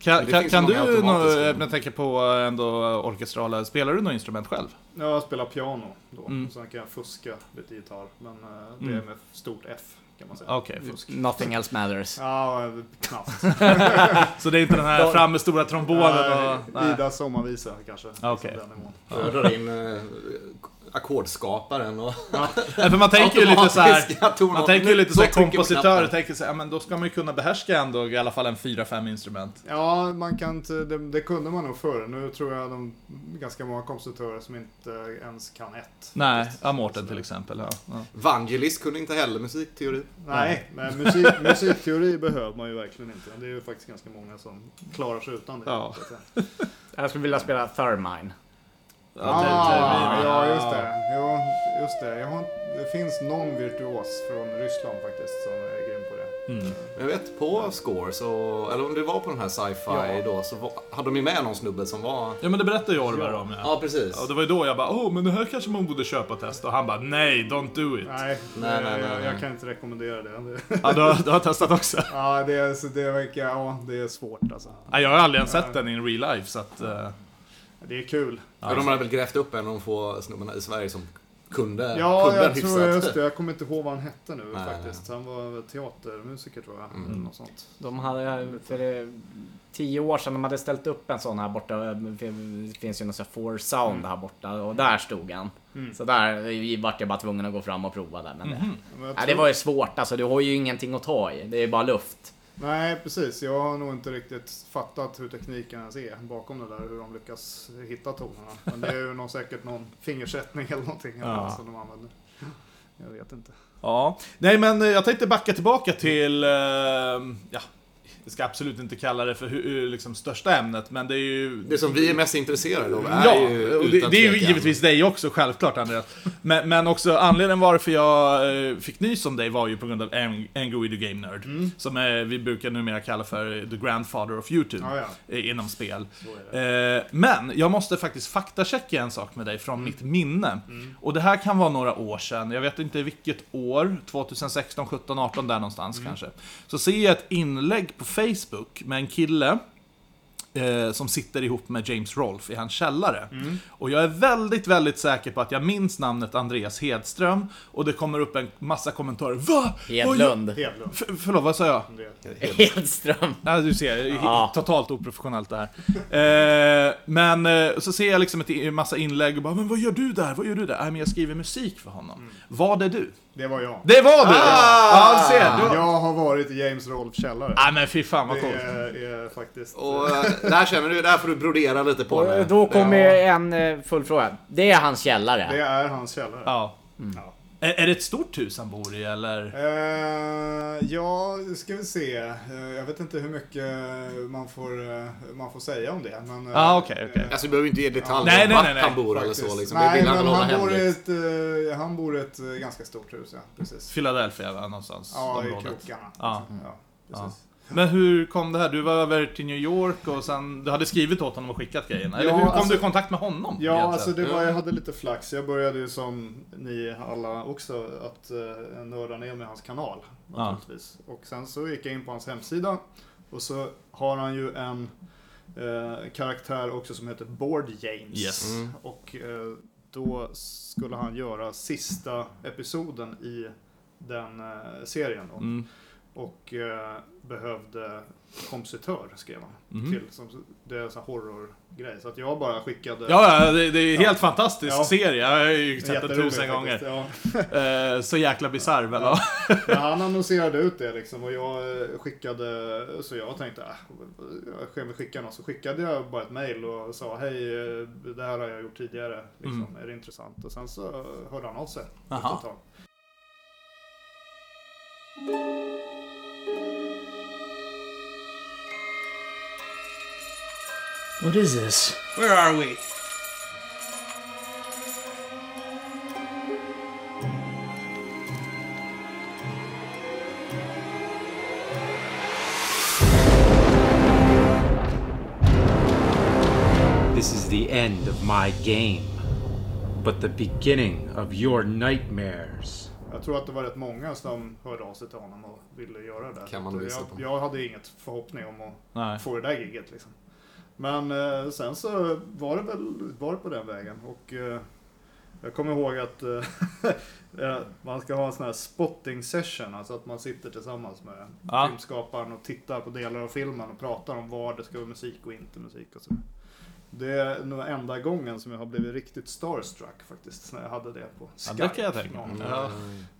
C: Men
D: Kan,
C: det
D: kan,
C: finns
D: kan
C: många
D: du, nå-
C: automatiska.
D: eh, men jag tänker på eh, ändå orkestrala, spelar du något instrument själv?
B: Jag spelar piano då,
D: Mm.
B: sen kan jag fuska lite gitarr. Men eh, det
D: Mm. Ah,
B: är med stort F kan man säga.
D: Okej, fusk.
A: Nothing else matters.
B: Ja, knappt.
D: Så det är inte den här fram med stora trombonen och...
B: Nej,
D: Nej.
B: Ida sommarvisa kanske.
D: Okej.
B: Liksom den nivån.
C: Jag drar in eh, ackordskaparen och
D: Nej, för man tänker ju lite så här.
C: automatiska tonarter.
D: Man tänker ju lite
C: Då
D: så här
C: trycker vi
D: kompositör,
C: knappen.
D: och tänker så här, ja, men då ska man ju kunna behärska ändå i alla fall en 4-5 instrument.
B: Ja, man kan inte, det, det kunde man nog förr. Nu tror jag de ganska många kompositörer som inte ens kan ett.
D: Nej, ja, Mårten till exempel. Ja, ja.
C: Vangelis kunde inte heller musikteori.
B: Nej, men musik, musikteori behöver man ju verkligen inte. Det är ju faktiskt ganska många som klarar sig utan det.
D: Ja.
B: så att säga.
A: Jag skulle vilja spela Thermine.
B: Ah,
D: Termin,
B: ja, just det. Jo, just det. Jag har, inte- det finns någon virtuos från Ryssland faktiskt som är grym på det.
D: Mm.
C: Men jag vet på Score, så, eller om det var på den här sci-fi
B: Ja.
C: då, så var, hade de ju med någon snubbe som var...
D: Ja, men det berättade ju Orvar om. Ja.
C: Ja, precis.
D: Och det var ju då jag bara, oh, men det här kanske man borde köpa och testa. Och han bara, nej, don't do it.
B: Nej,
C: Nej,
B: det,
C: nej, nej,
B: jag, jag
C: nej.
B: kan inte rekommendera det.
D: Ja, du, har, du har testat också.
B: ja, det, är, så det, verkar, ja, det är svårt alltså.
D: Ja, jag har aldrig ens sett den in real life, så att... eh,
B: Det är kul.
C: Ja, de hade väl grävt upp en av de få snubbarna i Sverige som kunde,
B: Ja,
C: kunde
B: jag
C: hyfsat.
B: tror just det. Jag kommer inte ihåg vad han hette nu
C: Nej,
B: faktiskt. Han var teatermusiker tror jag.
C: Mm.
B: Eller något sånt.
A: De hade för eh, tio år sedan, de hade ställt upp en sån här borta. eh, Det finns ju någon sån här Four Sound här borta och där stod han.
B: Mm.
A: Så där eh, vart jag bara tvungen att gå fram och prova där. Men det,
B: Men jag
A: ja, det
B: tror-
A: var ju svårt alltså, du har ju ingenting att ta i. Det är bara luft.
B: Nej, precis. Jag har nog inte riktigt fattat hur tekniken ens är bakom det där. Hur de lyckas hitta tonerna. Men det är ju någon, säkert någon fingersättning eller någonting
D: Ja.
B: som de använder. Jag vet inte.
D: Ja, nej men eh, jag tänkte backa tillbaka till, eh, ja, jag ska absolut inte kalla det för hu- hu- liksom största ämnet, men det är ju...
C: Det som vi är mest intresserade av är
D: Ja,
C: ju
D: och det,
C: utan
D: det är ju
C: tvekan-
D: givetvis dig också, självklart Andreas. Men, men också anledningen varför jag eh, fick nys om dig var ju på grund av Ang- Angry Video Game Nerd.
C: Mm.
D: Som eh, vi brukar numera kalla för the grandfather of YouTube
B: Ja, ja.
D: eh, inom spel.
B: Så är det.
D: Eh, men jag måste faktiskt faktachecka en sak med dig från mitt minne. Och det här kan vara några år sedan, jag vet inte vilket år, 2016, 17, 18 där någonstans kanske. Så ser jag ett inlägg på Facebook med en kille eh, som sitter ihop med James Rolfe i hans källare. Och jag är väldigt, väldigt säker på att jag minns namnet Andreas Hedström och det kommer upp en massa kommentarer. Va? Vad gör-
A: Hedlund.
B: Hedlund.
D: För, förlåt, vad sa jag?
B: Det-
A: Hedström.
D: Ja, du ser. he-
A: Ja.
D: Totalt oprofessionellt det här. Eh, men eh, så ser jag liksom ett i- massa inlägg och bara Men vad gör du där? Vad gör du där? Nej, men jag skriver musik för honom.
B: Mm.
D: Var det du?
B: Det var jag.
D: Det var du! Ah! Ja, ser du.
B: Jag har varit i James Rolfs källare.
D: Nej men fy fan vad
B: Det
D: coolt.
B: är, är faktiskt...
C: Och eh, det här känner du, det här får du brodera lite på nu.
A: Och eh, då kommer en eh, följdfråga. Det är hans källare.
B: Det är hans källare.
D: Ja.
B: Ja.
D: Är, är det ett stort hus han bor i eller?
B: Eh, ja, ska vi se. Eh, jag vet inte hur mycket eh, man får, eh, man får säga om det. Men, eh,
D: Ah, okej, okej.
B: eh,
C: Alltså vi behöver inte ge detaljer
D: Nej,
C: om
D: nej,
C: vart
D: nej, nej.
C: han bor
B: faktiskt.
C: eller så liksom. det
B: Nej,
C: vill han
B: men
C: väl hålla
B: han bor, i
C: hemligt.
B: ett, eh, han bor i ett eh, ganska stort hus, ja. Precis.
D: Philadelphia va? någonstans?
B: Ja, i
D: området.
B: krokarna.
D: Ja. Mm.
B: Ja, precis.
D: Men hur kom det här? Du var över till New York och sen, du hade skrivit åt honom och skickat grejerna. Eller
B: Ja,
D: hur kom
B: alltså-
D: du i kontakt med honom?
B: Ja,
D: egentligen?
B: alltså det
C: Mm.
B: var, jag hade lite flax. Jag började ju som ni alla också att eh, nörda ner med hans kanal.
D: Ja.
B: Naturligtvis. Och sen så gick jag in på hans hemsida och så har han ju en eh, karaktär också som heter Board James.
D: Yes.
C: Mm.
B: Och eh, då skulle han göra sista episoden i den eh, serien. Då.
D: Mm.
B: Och eh, behövde kompositör skrev han.
D: Mhm.
B: Till, som, det är en sån här horrorgrej. Så att jag bara skickade
D: Ja, ja, det, det är en helt fantastisk
B: Ja.
D: serie. Jag har ju sett den
B: Jätteroligt
D: tusen gånger.
B: faktiskt, Ja.
D: Eh, så jäkla bisarr väl? Ja.
B: Men han annonserade ut det liksom och jag eh, skickade, så jag tänkte, äh, jag ska väl skicka något. Så skickade jag bara ett mail och sa, hej, eh, det här har jag gjort tidigare, liksom,
D: Mm.
B: är det intressant? Och sen så hörde han av sig efter
D: Aha.
B: ett tag.
E: What is this?
F: Where are we?
E: This is the end of my game, but the beginning of your nightmares.
B: Jag tror att det var rätt många som hörde av sig till honom och ville göra det.
C: Kan man
B: Så
C: visa
B: jag,
C: på.
B: jag hade inget förhoppning om att
D: Nej.
B: få det där giget liksom. Men eh, sen så var det väl var det på den vägen och eh, Jag kommer ihåg att eh, eh, man ska ha en sån här spotting session, alltså att man sitter tillsammans med
D: Ja.
B: filmskaparen och tittar på delar av filmen och pratar om vad det ska vara musik och inte musik och så. Det är nog enda gången som jag har blivit riktigt starstruck faktiskt, när jag hade det på
D: Ja,
B: Skype.
D: det kan jag tänka mig.
B: Ja.
D: Ja.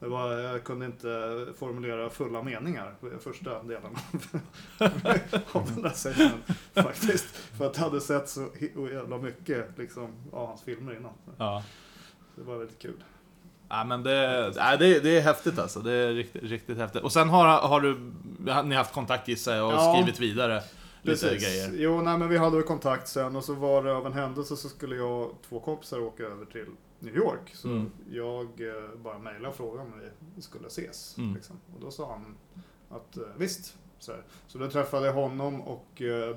B: Det var, jag kunde inte formulera fulla meningar på första delen av den där sessionen faktiskt. För att jag hade sett så hi- jävla mycket liksom, av hans filmer innan.
D: Ja.
B: Det var väldigt kul.
D: Ja, men det, nej, det, det är häftigt alltså. Det är riktigt, riktigt häftigt. Och sen har, har du, ni har haft kontakt gissar jag och
B: Ja.
D: skrivit vidare lite grejer.
B: Jo, nej, men vi hade väl kontakt sen och så var det av en händelse så skulle jag och två kompisar åka över till New York. Så
D: Mm.
B: jag eh, bara mejlade och frågade om vi skulle ses.
D: Mm.
B: Liksom. Och då sa han att eh, visst. Så, här. så då träffade jag honom och eh,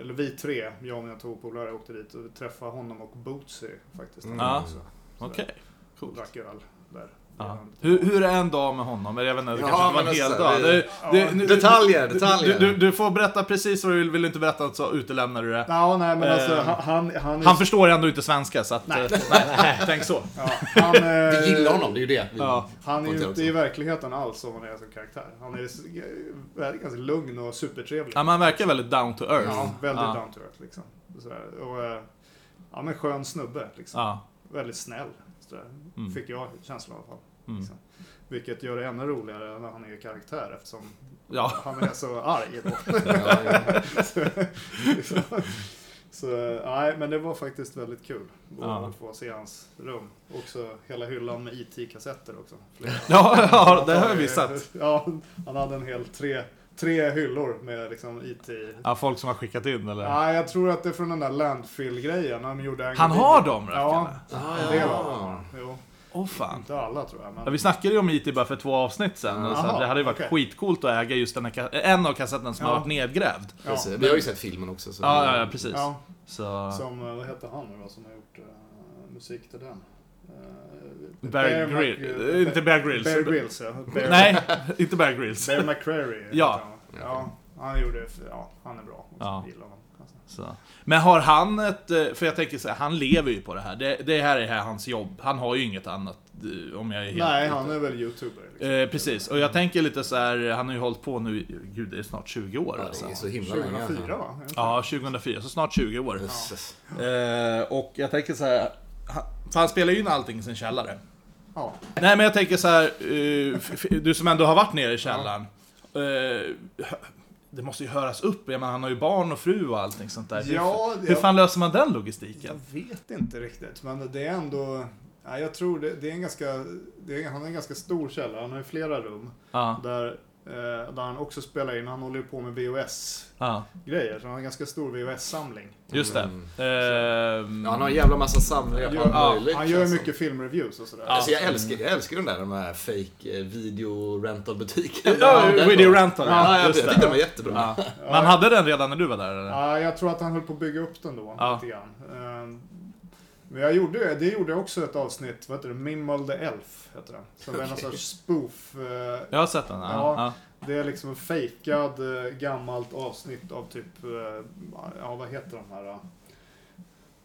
B: eller vi tre, jag och mina två polare åkte dit och vi träffade honom och Bootsy faktiskt.
C: Mm.
D: Ja.
B: också. Så
D: Okej,
B: där. Och
D: coolt.
B: Drack öl där.
D: Ja. Hur, hur är en dag med honom? Eller Jag vet inte, det
C: Ja,
D: kanske inte var
C: men
D: en hel
C: alltså,
D: dag.
C: det-
D: Det, det, nu-
C: Detaljer,
D: du,
C: detaljer.
D: du, du får berätta precis vad du vill, vill du inte berätta så utelämnar du det.
B: Ja, nej men alltså
D: Eh,
B: han, han, han, är-
D: Han förstår ändå inte svenska så att... eh, Nej. nej tänk så.
B: ja, han, eh,
C: Vi gillar honom, det är ju det. Vi-
D: Ja.
B: Han är
C: Och
B: ju
C: det
B: inte
C: också.
B: i verkligheten alls som han är som karaktär. Han är s- väldigt- ganska lugn och supertrevlig.
D: Ja, men han verkar väldigt down to earth.
B: Ja, väldigt
D: Ja.
B: down to earth liksom. Sådär. Och, eh, ja men skön snubbe liksom.
D: Ja.
B: Väldigt snäll. Sådär.
D: Mm.
B: Fick jag känslan i alla fall.
D: Mm.
B: Liksom. Vilket gör det ännu roligare när han är karaktär eftersom
D: Ja.
B: han är så arg då.
C: Ja, ja.
B: Liksom. Så eh, nej, men det var faktiskt väldigt kul att
D: Ja.
B: få se hans rum. Också hela hyllan med IT-kassetter också. Flera.
D: Ja, ja, det har jag missat.
B: Ja, han hade en hel tre, tre hyllor med liksom IT.
D: Ja, folk som har skickat in eller?
B: Ja, jag tror att det är från den där landfill-grejen. Han, gjorde en
D: Han har dem
B: Ja,
D: rackarna?
B: en del av dem. Jo,
D: Åh fan.
B: inte alla tror jag.
D: Ja,
B: Men...
D: vi snackade ju om IT bara för två avsnitt sen. och Så
B: Jaha,
D: det hade ju varit
B: okej.
D: skitcoolt att äga just den här, ka- en av kassetterna som
B: Ja.
D: har varit nedgrävd.
B: Ja,
C: Precis. Vi har ju sett filmen också. Så
D: Ja, ja, ja precis.
B: ja,
D: Så...
B: som, eh, vad heter han nu då som har gjort eh, musik till den? Eh,
D: Bear
B: Mac-
D: Grill- eh, inte Bear Grylls.
B: Bear Grylls, ja. Bear,
D: Nej, inte Bear Grylls.
B: Bear McCrary. heter
D: Ja.
B: han. ja. Han gjorde, ja, han är bra. också.
D: Ja.
B: Gillar honom. Alltså.
D: Så. Men har han ett... eh, För jag tänker så här, han lever ju på det här. Det, det här är här hans jobb. Han har ju inget annat, eh, om jag är helt...
B: Nej, han är väl youtuber. liksom.
D: Eh, precis, och jag tänker lite så här, han har ju hållit på nu, i- gud det är snart 20 år
C: Ja,
D: alltså.
C: det är så Mm. himla länge.
B: 2004 va?
D: Ja, 2004, så snart 20 år.
C: Jösses.
D: Eh, och jag tänker så här, han, för han spelar ju in allting i sin källare.
B: Ja.
D: Nej men jag tänker så här, eh, f- f- du som ändå har varit nere i källaren. Eh, hö- det måste ju höras upp, jag menar, han har ju barn och fru och allting sånt där. Hur-
B: Ja,
D: Hur
B: jag-
D: fan löser man den logistiken?
B: Jag vet inte riktigt, men det är ändå... Ja, jag tror det, det är en ganska... Det är, han har en ganska stor källare, han har ju flera rum.
D: Ja,
B: Där, eh, där han också spelar in, han håller ju på med VHS-grejer,
D: ja,
B: så han har en ganska stor VHS-samling.
D: just det.
C: Mm.
D: Ehm,
C: Ja, han har en jävla massa samlingar på
B: Ja,
C: allt
D: ja,
C: möjligt.
B: Han gör ju
C: känns som.
B: mycket filmreviews och sådär.
C: Alltså jag älskar, jag älskar den där de här fake eh, video rental butiken.
D: Ja, video rental,
C: Ja,
D: ja,
C: jag
D: just
C: tyckte
D: det.
C: den var jättebra.
D: ja. Man hade den redan när du var där eller?
B: Ja, jag tror att han höll på att bygga upp den då,
D: Ja.
B: lite grann. Eh, Men jag gjorde, det gjorde jag också ett avsnitt, vad heter det? Mimmal the Elf, heter den. Som är någon
C: Okej.
B: sorts spoof... eh,
D: Jag har sett den, ja.
B: Ja.
D: ja.
B: Det är liksom en fejkad eh, gammalt avsnitt av typ, eh, ja vad heter de här? eh?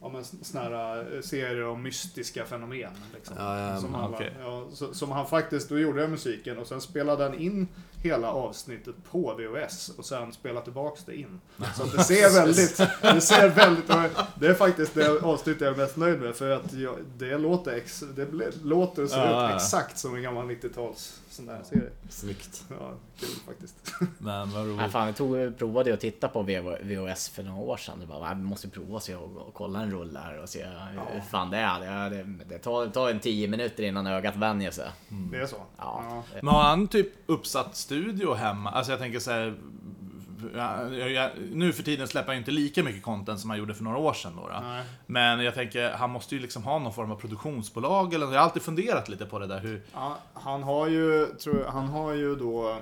B: Ja men s- såna här eh, serier om mystiska fenomen. Liksom.
C: Ja, ja,
B: som,
C: men,
B: alla,
D: okej.
B: ja, så, som han faktiskt, då gjorde jag musiken och sen spelade han in hela avsnittet på VHS och sen spelade tillbaks det in. Så att det ser väldigt, det ser väldigt, och det är faktiskt det avsnittet jag är mest nöjd med för att jag, det låter, ex, det ble, låter och ser
D: Ja, ja,
B: ut
D: ja.
B: exakt som en gammal 90-tals sån där serie.
C: Snyggt.
B: Ja, kul faktiskt.
D: Men vad
A: Nej,
D: roligt.
A: fan, jag tog, provade att titta på VV VHS för några år sedan. Jag bara, "Nej, vi måste prova så jag och kolla en rulle här och se hur fan det är. Det, det, det tar, det tar en 10 minuter innan ögat vänjer sig.
D: Mm.
B: Det är så?
A: Ja.
D: Men har han typ uppsatt studio hemma? Alltså jag tänker så här, ja, jag, jag, nu för tiden släpper han ju inte lika mycket content som han gjorde för några år sedan. Då, då.
B: Nej.
D: Men jag tänker, han måste ju liksom ha någon form av produktionsbolag eller Jag har alltid funderat lite på det där. Hur,
B: Ja, han, har ju, tror, jag- han har ju då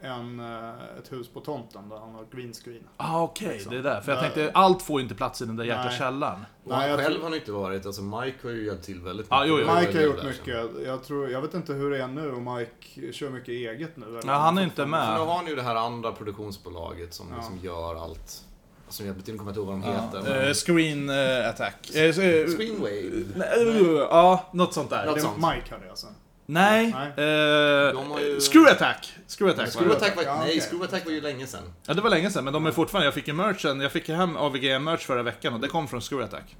B: en, eh, ett hus på tomten där han har green screen.
D: ah, okej,
C: Liksom.
D: det är där. För jag
B: Nej.
D: tänkte, allt får ju inte plats i den där jäkla
B: Nej.
D: källaren.
C: Och
B: Nej,
C: han
B: jag
C: själv
B: tror-
C: har han inte varit. Alltså Mike har ju hjälpt till väldigt
D: Ja, jo, jo.
C: Det var
B: Mike har
C: ju
B: gjort
C: där, sen.
B: mycket. Jag, tror, jag vet inte hur det är nu om Mike kör mycket eget nu. Eller
D: Ja, han är inte
C: För nu
D: med.
C: har han ju det här andra produktionsbolaget som
B: Ja.
C: liksom gör allt. som hjälper till, nu kommer jag inte ihåg vad de
D: Ja.
C: heter.
D: Eh,
C: men-
D: screen eh, attack. Eh, s- eh,
C: Screenwave.
D: nej, eh, ja, något sånt där.
C: Något
B: Det
C: sånt.
B: var Mike alltså. hade jag sen.
D: Nej.
B: Nej.
D: Eh,
C: De har ju-
D: Screw attack. Screw attack. var det.
C: Screw Attack var,
B: Ja,
C: nej,
B: okej.
C: Screw Attack var ju länge sedan.
D: Ja, det var länge sedan, men de är fortfarande... Jag fick ju merchen. Jag fick hem AVG-merch förra veckan och det kom från Screw attack.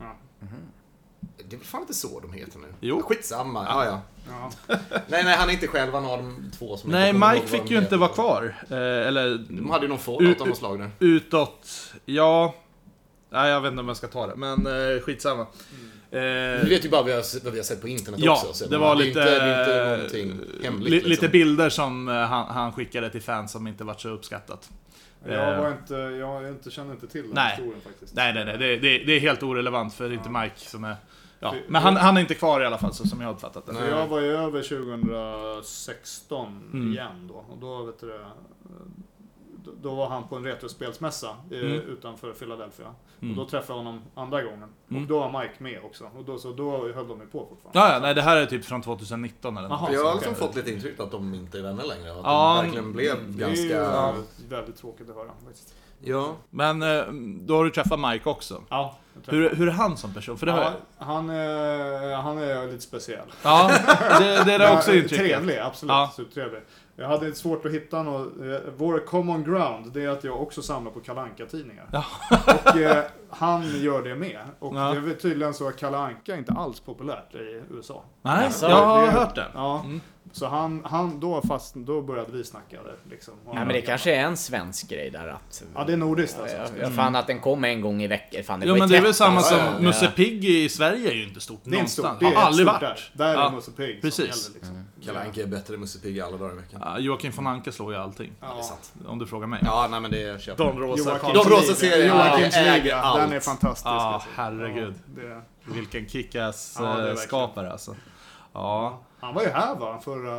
C: Det är väl fan inte så de heter nu?
D: Jo.
C: Skitsamma, ja ja.
B: Ja.
C: Nej, nej, han är inte själv, han har de två som
D: Nej,
C: inte kommer
D: Mike
C: ihåg vad
D: fick
C: de
D: ju inte
C: heter.
D: vara kvar. Eh, eller
C: De hade ju någon
D: U-
C: Fallout av något slag där.
D: utåt... Ja... Nej, jag vet inte om jag ska ta det, men eh, skitsamma.
C: Mm.
D: Eh,
C: Vi vet ju bara vad vi har, vad vi har sett på internet
D: Ja,
C: också. så
D: det var
C: är
D: lite- eh,
C: Inte, det är inte någonting hemligt.
D: li-
C: liksom.
D: Lite bilder som eh, han, han skickade till fans som inte varit så uppskattat.
B: Jag,
D: Eh.
B: var inte, jag inte, känner inte till den
D: Nej.
B: historien faktiskt.
D: Nej, nej, nej. Det, det, det är helt orelevant för det är inte Mike som är... Ja.
B: Fy-
D: Men han, han är inte kvar i alla fall, så som jag har uppfattat det.
B: För jag var ju över 2016
D: Mm.
B: igen då. Och då, vet du, det, då- då var han på en retrospelsmässa eh,
D: Mm.
B: utanför Philadelphia.
D: Mm.
B: Och då träffade jag honom andra gången.
D: Mm.
B: Och då var Mike med också. Och då, så då höll de ju på fortfarande.
D: Ja, ja, nej, det här är typ från 2019 eller
B: Jaha.
D: något.
C: För jag har
D: sånt
C: liksom
D: där.
C: fått lite intryck att de inte är vänner längre. Att
D: Ja,
C: de verkligen blev
B: Det är ju
C: ganska...
B: ja, väldigt tråkigt att höra faktiskt.
C: Ja.
D: Men eh, då har du träffat Mike också.
B: Ja, jag träffade
D: Hur, hur är han som person? För det har jag...
B: Ja, han, är, han är lite speciell.
D: Ja, det, det är också
B: Ja, eh,
D: intrycket.
B: Trevlig, absolut.
D: Ja.
B: Supertrevlig. Jag hade lite svårt att hitta något. eh, Vår common ground, det är att jag också samlar på kalanka tidningar
D: Ja.
B: Och eh, han gör det med. Och
D: Ja.
B: det är väl tydligen så att Kalle Anka är inte alls populärt i USA.
D: Nej,
A: Jaså,
D: jag har
B: Alltså, det-
D: hört den.
B: Ja.
D: Mm.
B: Så han, han då, fast, då började vi snacka där liksom. Och
A: Nej men det kanske är en svensk grej där att...
B: Ja, det är nordiskt
A: Jag,
B: alltså.
A: jag, fann att den kom en gång i veckan. Fan, det
D: Jo
A: var ju
D: men det är väl
A: tätt,
D: samma
A: alltså.
D: som
A: Ja.
D: Musse Pigg i Sverige är ju inte stort
B: Det är inte
D: någonstans.
B: stort. Det är
D: har aldrig
B: stort
D: varit.
B: där. Där
D: Ja,
B: är Musse Pigg som
D: precis.
B: gäller liksom.
C: Kalle Anka är bättre än Musse Pigg alla dagar i veckan.
D: Ja, Joakim von Anka slår ju allting.
B: Ja.
D: Om du frågar mig.
C: Ja, nej men det köper jag.
B: Joakim
C: De rosa
B: Liga.
C: serierna
B: Joakims
C: äger
B: Liga.
C: allt.
B: Den är fantastisk.
D: Ja,
B: alltså.
D: herregud.
B: Ja, det är...
D: Vilken kickass
B: Ja, det är
D: eh,
B: verkligen.
D: skapare alltså. Ja.
B: Han var ju här va? Förra...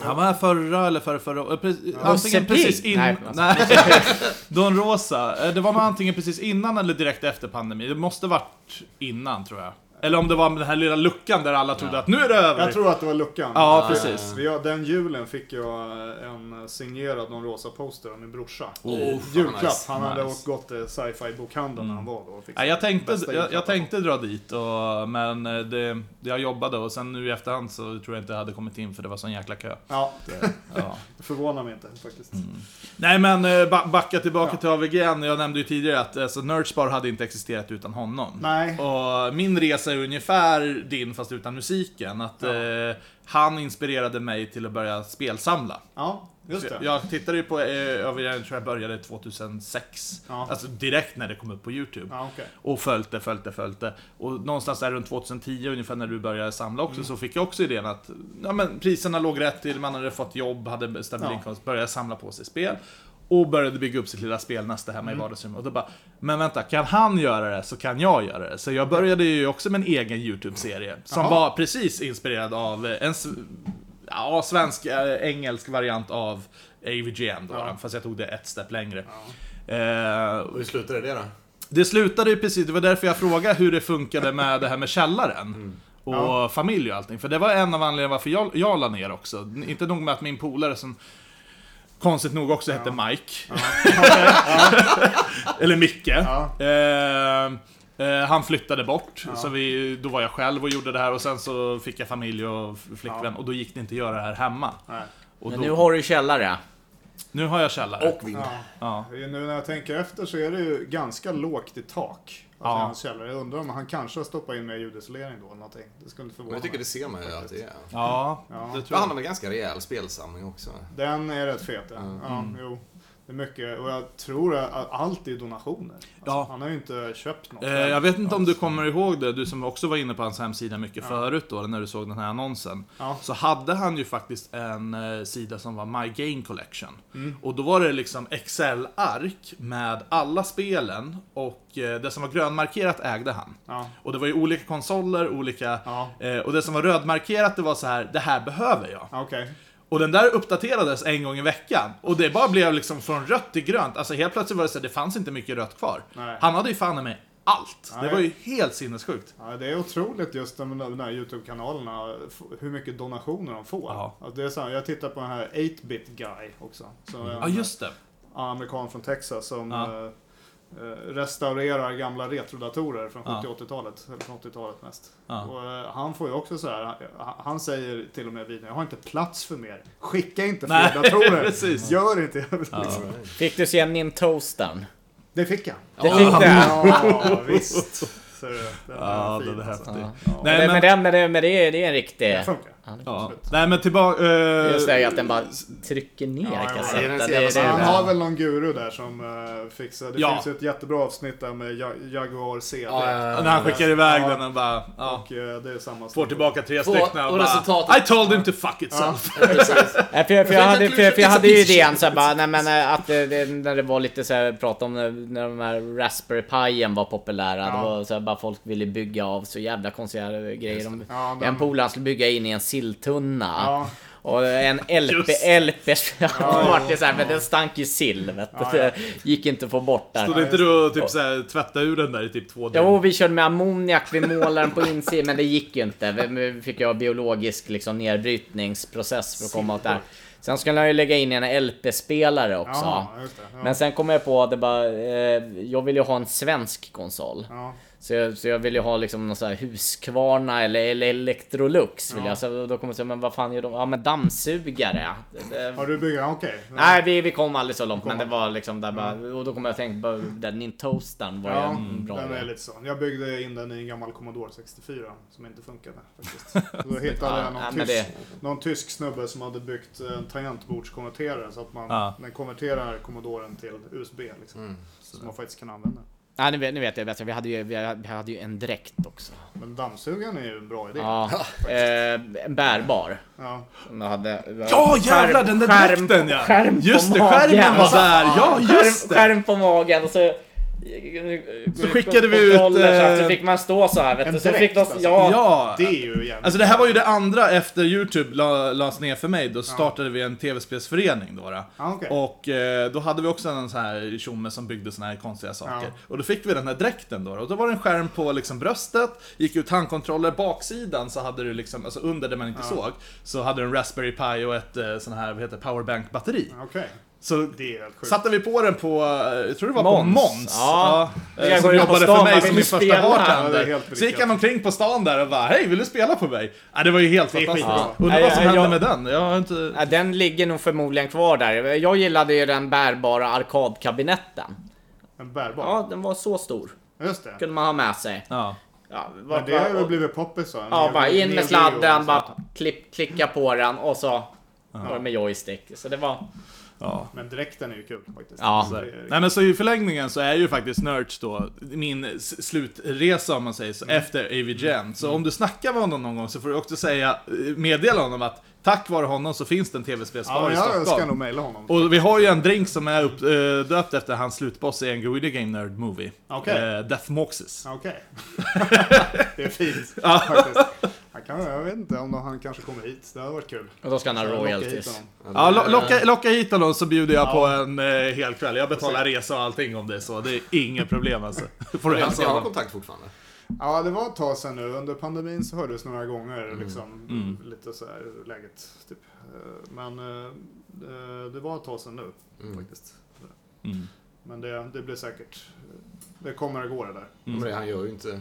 D: Han var här förra eller förra, förra eh, precis-
B: Ja.
D: Antingen
A: Musse Pigg?
D: precis innan...
A: Nej,
D: Nej. Don Rosa. Eh, Det var nog antingen precis innan eller direkt efter pandemin. Det måste varit innan tror jag. Eller om det var den här lilla luckan där alla trodde att nu är det över.
B: Jag tror att det var luckan.
D: Ja,
B: Eh,
D: precis.
B: vi har- den julen fick jag en signerad någon rosa poster av min brorsa.
C: Oh, fan,
B: Julklapp.
C: nice.
B: Han hade
D: Nice. Mm.
B: åkt gått till sci-fi bokhandeln när han var då. och fick
D: Nej, jag, tänkte,
B: bästa
D: jag, jag
B: julklappen.
D: tänkte dra dit, och, men eh, det, jag jobbade och sen nu i efterhand så tror jag inte jag hade kommit in för det var sån jäkla kö.
B: Ja,
D: Ja. Mm.
B: det förvånar mig inte faktiskt.
D: Nej men eh, ba- backa tillbaka
B: Ja.
D: till AVGN, jag nämnde ju tidigare att alltså, Nerdspar hade inte existerat utan honom.
B: Nej.
D: Och min resa är ungefär din fast utan musiken, att
B: Ja.
D: eh, han inspirerade mig till att börja spelsamla.
B: Ja, just
D: Jag-
B: det.
D: Jag tittade ju på eh, AVGN, tror jag började 2006.
B: Ja.
D: Alltså direkt när det kom upp på YouTube.
B: Ja, okej.
D: Och följt det, följt det, följt det. Och någonstans där runt 2010 ungefär när du började samla också
B: Mm.
D: så fick jag också idén att ja, men, priserna låg rätt till, man hade fått jobb, hade stabil
B: Ja.
D: inkomst, började samla på sig spel. Och började bygga upp sitt lilla spelnäste hemma
B: Mm.
D: i vardagsrummet. Och då bara, men vänta, kan han göra det så kan jag göra det. Så jag började ju också med en egen YouTube-serie. Som
B: Jaha.
D: var precis inspirerad av eh, en s- ja, svensk, eh, engelsk variant av AVGN då.
B: Ja.
D: Fast jag tog det ett steg längre.
B: Ja.
D: Eh,
C: Och hur slutade det då?
D: det slutade ju precis, det var därför jag frågade hur det funkade med det här med källaren. Och
B: Mm. Ja.
D: familj och allting. För det var en av anledningarna varför jag, jag la ner också. N- Inte nog med att min polare som konstigt nog också hette Mike. Eller Micke.
B: Ja.
D: Eh, eh, han flyttade bort, så vi, då var jag själv och gjorde det här och sen så fick jag familj och f- flickvän
B: Ja.
D: och då gick det inte att göra det här hemma.
B: Nej.
D: Och
A: Men
D: då,
A: nu har du källare.
D: nu har jag källare.
C: Och vind.
B: Ja.
D: ja.
B: Nu när jag tänker efter så är det ju ganska lågt i tak. Alltså
D: Ja.
B: i hans källare. Jag undrar om han kanske har stoppat in mer ljudisolering då eller någonting. Det skulle inte
C: Men
B: förvåna
C: jag tycker
B: mig.
C: det ser man ju att det är.
D: ja, det tror
C: Han
D: jag.
C: har en ganska rejäl spelsamling också.
B: Den är rätt fet, ja. ja
D: Mm.
B: jo. Det är mycket, och jag tror att allt är donationer. Alltså,
D: Ja.
B: Han har ju inte köpt något.
D: Eh, jag vet inte om du kommer ihåg det, du som också var inne på hans hemsida mycket förut då, när du såg den här annonsen.
B: Ja.
D: Så hade han ju faktiskt en eh, sida som var My Game Collection.
B: Mm.
D: Och då var det liksom Excel-ark med alla spelen och eh, det som var grönmarkerat ägde han.
B: Ja.
D: Och det var ju olika konsoler, olika...
B: Ja.
D: Eh, och det som var rödmarkerat det var så här, det här behöver jag.
B: Ja, Okej.
D: Och den där uppdaterades en gång i veckan. Och det bara blev liksom från rött till grönt. Alltså helt plötsligt var det så här, det fanns inte mycket rött kvar.
B: Nej.
D: Han hade ju fan i mig allt. Det
B: Nej.
D: var ju helt sinnessjukt.
B: Ja, det är otroligt just de, de där YouTube-kanalerna, f- hur mycket donationer de får.
D: Ja.
B: Alltså, det är så här, jag tittar på den här 8-bit guy också. Som är en
D: Mm. Ja, just det.
B: amerikan från Texas som
D: Ja.
B: eh, eh, restaurerar gamla retrodatorer från
D: Ja.
B: 70 och 80-talet, eller från 80-talet mest.
D: Ja.
B: Och, eh, han får ju också så här, eh, han, han säger till och med i videon, jag har inte plats för mer. Skicka inte
D: Nej,
B: fler datorer.
D: precis.
B: Gör inte det. Liksom.
D: Ja.
A: Fick du se en toastern?
B: Det fick jag.
A: Det fick du?
B: Ja, visst. Så, den
D: Ja,
B: är fin,
D: den är
B: alltså.
D: häftig.
A: Men,
D: Nej,
A: men,
D: men,
A: den- men, det, men det, är, det är en riktig...
B: Det funkar.
D: ja.
B: absolut.
D: Nej, men tillbaka... eh,
A: Just det här att den bara trycker ner
B: Ja, ja,
C: det är
A: kassetten.
C: den
A: Det, är- det,
C: senaste.
A: är
B: han
A: det,
B: har väl någon guru där som eh, fixar. Det
D: Ja.
B: finns ju ett jättebra avsnitt där med Ja- Jaguar CD.
D: När han skickar iväg
B: Ja.
D: den och bara... Ja.
B: Och eh, det är samma
D: Får
B: sak.
D: tillbaka tre
C: Får-
D: stycken och,
C: och
D: bara,
C: resultatet-
D: I told him to fuck itself.
A: Nej, för, jag- för, jag hade, för, jag- för jag hade ju idén så här, bara, nej, men eh, att det, det, när det var lite så här, prat om när, när de här Raspberry Pi'en var populära. Det var så här, bara folk ville bygga av så jävla konstiga grejer. De,
B: Ja, den-
A: en polare skulle bygga in i en silltunna.
B: Ja.
A: Och en LP,
D: Just.
A: LP ja, det så här, men den stank ju sill vet du.
B: Ja, ja.
A: Det gick inte att få bort där.
D: Stod inte du och typ såhär, tvätta ur den där i typ två
A: Jo,
D: dygn?
A: vi körde med ammoniak, vi målade den på insidan, men det gick ju inte. Vi vi fick ju ha biologisk liksom, nedbrytningsprocess för att komma åt det här. Sen skulle jag ju lägga in en LP-spelare också.
B: Ja, just det. Ja.
A: Men sen kom jag på att det bara, eh, jag vill ju ha en svensk konsol.
B: ja.
A: Så jag, så jag vill ju ha liksom någon sån här Husqvarna eller, eller Electrolux. Vill jag. Så då kommer jag säga, men vad fan gör de? Ja men dammsugare. Det- det-
B: Har du byggt? ja, Okej.
A: Nej, vi, vi kom aldrig så långt, men det var liksom där bara... Och då kom jag att tänka på den Nintostan var ju
B: Ja,
D: mm,
A: en bra
B: den är
A: grej.
B: lite sån. Jag byggde in den i en gammal Commodore 64 som inte funkade faktiskt. Så Då hittade
A: Ja,
B: jag
A: nej,
B: någon
A: men
B: tysk, någon tysk snubbe som hade byggt en tangentbordskonverterare så att man
D: Ja.
B: den konverterar Commodoren till USB liksom.
A: Mm,
B: Så man faktiskt kan använda.
A: Nej, nu vet, nu vet jag bättre. Vi hade ju, vi hade vi hade ju en dräkt också.
B: Men dammsugaren är ju en bra idé.
A: Ja, eh, en bärbar.
B: Ja.
A: Som jag hade,
D: Ja
A: Skärm-
D: jävlar den där
A: skärm-
D: dräkten ja!
A: skärm på
D: just det,
A: magen.
D: skärmen var där! Ja just
A: Skärm,
D: det!
A: skärm på magen och så...
D: Så skickade vi ut,
A: kontroller, Så, att
D: eh,
A: så fick man stå så här vet
B: en
A: du. Så
B: dräkt,
A: fick de,
B: alltså.
A: ja,
D: Ja!
B: Det är ju jävligt.
D: Alltså det här var ju det andra efter Youtube la, lades ner för mig, då startade vi en tv-spelsförening då. då.
B: Ja, Ah, okej.
D: Och eh, då hade vi också en sån här tjomme som byggde såna här konstiga saker.
B: Ja.
D: Och då fick vi den här dräkten då. då. Och då var det en skärm på liksom bröstet, gick ut handkontroller, baksidan så hade du liksom, alltså under det man inte såg, så hade du en Raspberry Pi och ett eh, sån här, vad heter det, powerbank-batteri.
B: Okej.
D: Så
B: Det är helt sjukt.
D: satte vi på den på, eh, jag tror det var på
A: Måns.
D: Måns.
A: Ja.
D: eh,
A: Jag
D: som
A: går ut på
D: jobbade
A: stan,
D: för mig
A: man
D: som
A: vill
D: min
A: spela.
D: första
B: Ja, det är
D: bartender.
B: helt
D: Så gick
B: briljant.
D: han omkring på stan där och bara Hej, vill du spela på mig? Ja, det var ju helt
B: Det är
D: fantastiskt.
B: skitbra.
D: Undrar vad som
A: Ja, jag-
D: hände med den? Jag har inte...
A: Ja, den ligger nog förmodligen kvar där. Jag gillade ju den bärbara arkadkabinetten.
B: En bärbar.
A: Ja, den var så stor.
B: Just det.
A: Kunde man ha med sig.
D: Ja.
A: Ja, var,
B: Men det har ju blivit poppis va? En
A: ja
B: hel-
A: bara in med
B: hel video alltså. och
A: sladden,
B: så.
A: bara klipp, klicka på den och så var det med joystick. Så det var...
D: ja.
B: Men dräkten är ju kul faktiskt.
A: Ja.
D: Så.
B: Det är-
D: Nej men så i förlängningen så är ju faktiskt Nerds då min s- slutresa om man säger så,
B: Mm.
D: efter AVGN. Så om du snackar med honom någon gång så får du också säga, eh, meddela honom att tack vare honom så finns det en
B: Ja,
D: tv-spelsbar i
B: jag ska
D: Stockholm.
B: nog mejla honom.
D: Och vi har ju en drink som är upp, eh, döpt efter hans slutboss i en Guerrilla Game Nerd Movie.
B: Okej.
D: Eh, Death Moxes.
B: Okej. det är fint faktiskt. Han kan, jag vet inte om han kanske kommer hit. Det hade varit kul.
A: Och då ska han ha
B: Locka hit
A: royalties.
B: honom.
D: Ja, lo- locka, locka hit honom så bjuder jag på en eh, hel kväll. Jag betalar resa och allting om det är så. Det är inget problem alltså. Får du hälsa
C: Jag har
D: honom.
C: kontakt fortfarande.
B: Ja, det var ett tag sedan nu. Under pandemin så hördes några gånger liksom lite så här läget. Typ. Eh, Men eh, eh, det var ett tag sedan nu
C: Mm.
B: faktiskt.
D: Mm.
B: Men det, det blir säkert. Det kommer att gå det där.
A: Mm.
C: Men det, han gör ju inte...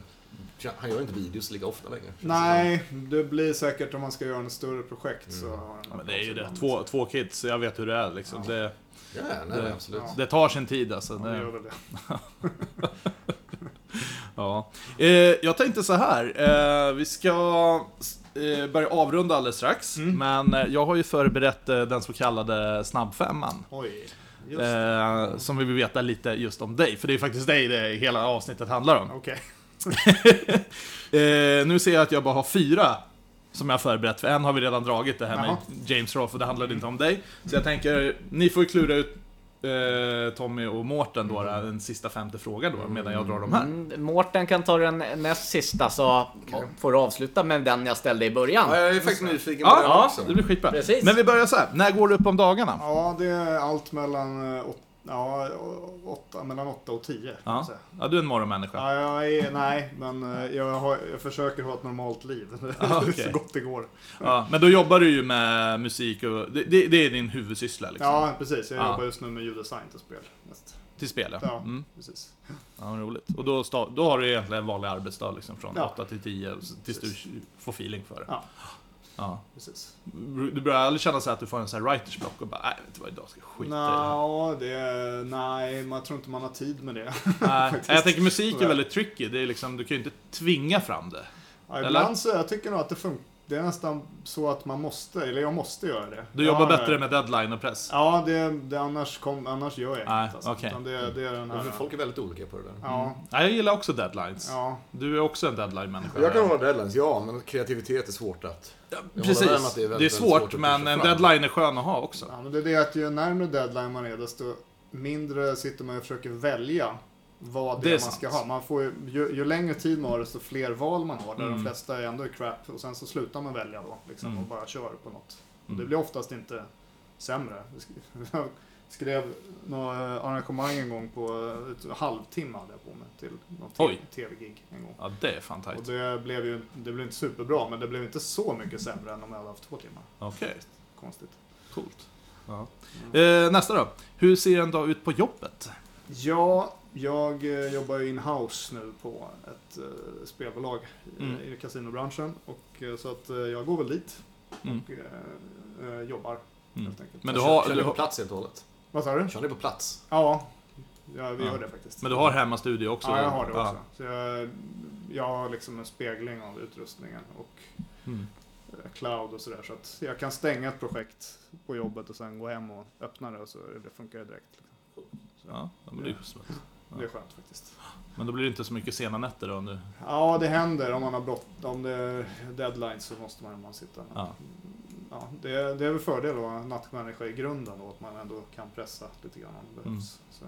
C: Han gör inte videos lika ofta längre.
B: Nej, det blir säkert om man ska göra en större projekt så har
D: Ja, men det är ju det. Två, två kids, så jag vet hur det är liksom. Det,
C: Ja, nej, nej, absolut.
B: Ja.
D: det tar sin tid alltså.
B: Ja, det
D: Det,
B: gör väl det.
D: ja. eh, jag tänkte så här. Eh, vi ska eh, börja avrunda alldeles strax. Men eh, jag har ju förberett eh, den så kallade snabbfemman.
B: Oj. Just det.
D: Eh, som vi vill veta lite just om dig, för det är faktiskt dig det hela avsnittet handlar om.
B: Okej.
D: Eh, nu ser jag att jag bara har fyra som jag har förberett, för en har vi redan dragit det här med
B: Jaha.
D: James Roth, och det handlade inte om dig. Så jag tänker, ni får ju klura ut eh, Tommy och Mårten då,
B: Mm.
D: den sista femte frågan då, medan jag drar de här.
A: Mm, Mårten kan ta den näst sista så får du avsluta med den jag ställde i början.
C: Ja, jag är faktiskt nyfiken på
D: Ja,
C: det
D: ja,
C: också.
D: det blir skitbra.
A: Precis.
D: Men vi börjar så här. när går du upp om dagarna?
B: Ja, det är allt mellan, eh, åt, ja, å- åtta, mellan åtta och tio. kan man
D: Ja.
B: säga.
D: ja, du är en morgonmänniska.
B: Ja, jag är, nej, men eh, jag, har, jag försöker ha ett normalt liv.
D: Ah, okej.
B: så gott det går.
D: Ja, men då jobbar du ju med musik och det, det, det är din huvudsyssla liksom.
B: Ja, precis. Jag
D: Ja.
B: jobbar just nu med ljuddesign till spel. Mest.
D: till spelet.
B: Ja,
D: Mm.
B: precis.
D: Ja, vad roligt. Och då, sta- då har du egentligen en vanlig arbetsdag liksom, från
B: Ja.
D: 8 till 10, tills du får feeling för det.
B: Ja.
D: Ja.
B: precis.
D: Du börjar aldrig känna så här att du får en sån här writersblock och bara, nej vet du vad, idag ska jag skita i det här."
B: Nå, det, nej, man tror inte man har tid med det.
D: Nej, jag tänker musik är
B: Ja.
D: väldigt tricky, det är liksom, du kan ju inte tvinga fram det.
B: Ja,
D: Eller?
B: ibland så, jag tycker nog att det funkar. Det är nästan så att man måste, eller jag måste göra det.
D: Du
B: Jag
D: jobbar
B: har-
D: bättre med deadline och press.
B: Ja, det, det, annars, kom, annars gör jag inte.
D: Nej,
B: alltså.
D: okej.
B: Utan det, det är den här...
C: Men Folk är väldigt olika på det där.
B: Ja,
D: Mm. Nej, jag gillar också deadlines.
B: ja.
D: Du är också en deadline-människa.
C: Jag kan ha deadlines, ja, men kreativitet är svårt att... Jag håller med om
D: Precis,
C: att
D: det är,
C: väldigt,
D: svårt,
C: väldigt att
D: men
C: pusha
D: en
C: fram.
D: deadline är skön att ha också.
B: ja, men det är det att ju närmare deadline man är, desto mindre sitter man och försöker välja vad det,
D: Det är
B: man
D: sant.
B: ska ha. Man får ju, ju, ju längre tid man har, desto fler val man har. Där
D: Mm.
B: de flesta är ändå är crap och sen så slutar man välja då, liksom,
D: Mm.
B: och bara kör på något. Och
D: Mm.
B: det blir oftast inte sämre. Jag skrev några eh, arrangemang en gång på eh, ett halvtimme hade jag på mig till
D: Oj.
B: något tv-gig en gång.
D: Ja, det är fan
B: Och
D: tajt.
B: det blev ju det blev inte superbra, men det blev inte så mycket sämre än om jag hade haft två timmar.
D: Okej,
B: Konstigt.
D: coolt. Ja. Eh, nästa då. Hur ser en dag ut på jobbet?
B: Ja, jag eh, jobbar ju in-house nu på ett eh, spelbolag i-
D: Mm.
B: i kasinobranschen. Och, eh, så att eh, jag går väl dit
D: Mm.
B: och eh, eh, jobbar
D: Mm.
B: helt enkelt.
D: Men
C: Men
D: du
C: du
D: har-
C: Kör
D: du
C: ni på
D: har-
C: plats helt och hållet?
B: Vad sa du?
C: Kör ni på plats?
B: Ja, ja vi
D: Ja.
B: gör det faktiskt.
D: Men du har hemmastudio också?
B: Ja, jag har det också.
D: Ja.
B: Så jag, jag har liksom en spegling av utrustningen och
D: Mm.
B: eh, cloud och sådär. Så att jag kan stänga ett projekt på jobbet och sen gå hem och öppna det och så det funkar det direkt. Liksom.
D: Ja, men det är ju smutt.
B: Det är skönt faktiskt.
D: Men då blir det inte så mycket sena nätter då? om du-
B: Ja, det händer om man har bråttom. Om det är deadline så måste man, man sitta.
D: Ja.
B: Ja, det, är- det är väl fördel att vara nattmänniska i grunden då, att man ändå kan pressa lite grann om det
D: Mm.
B: behövs. Så.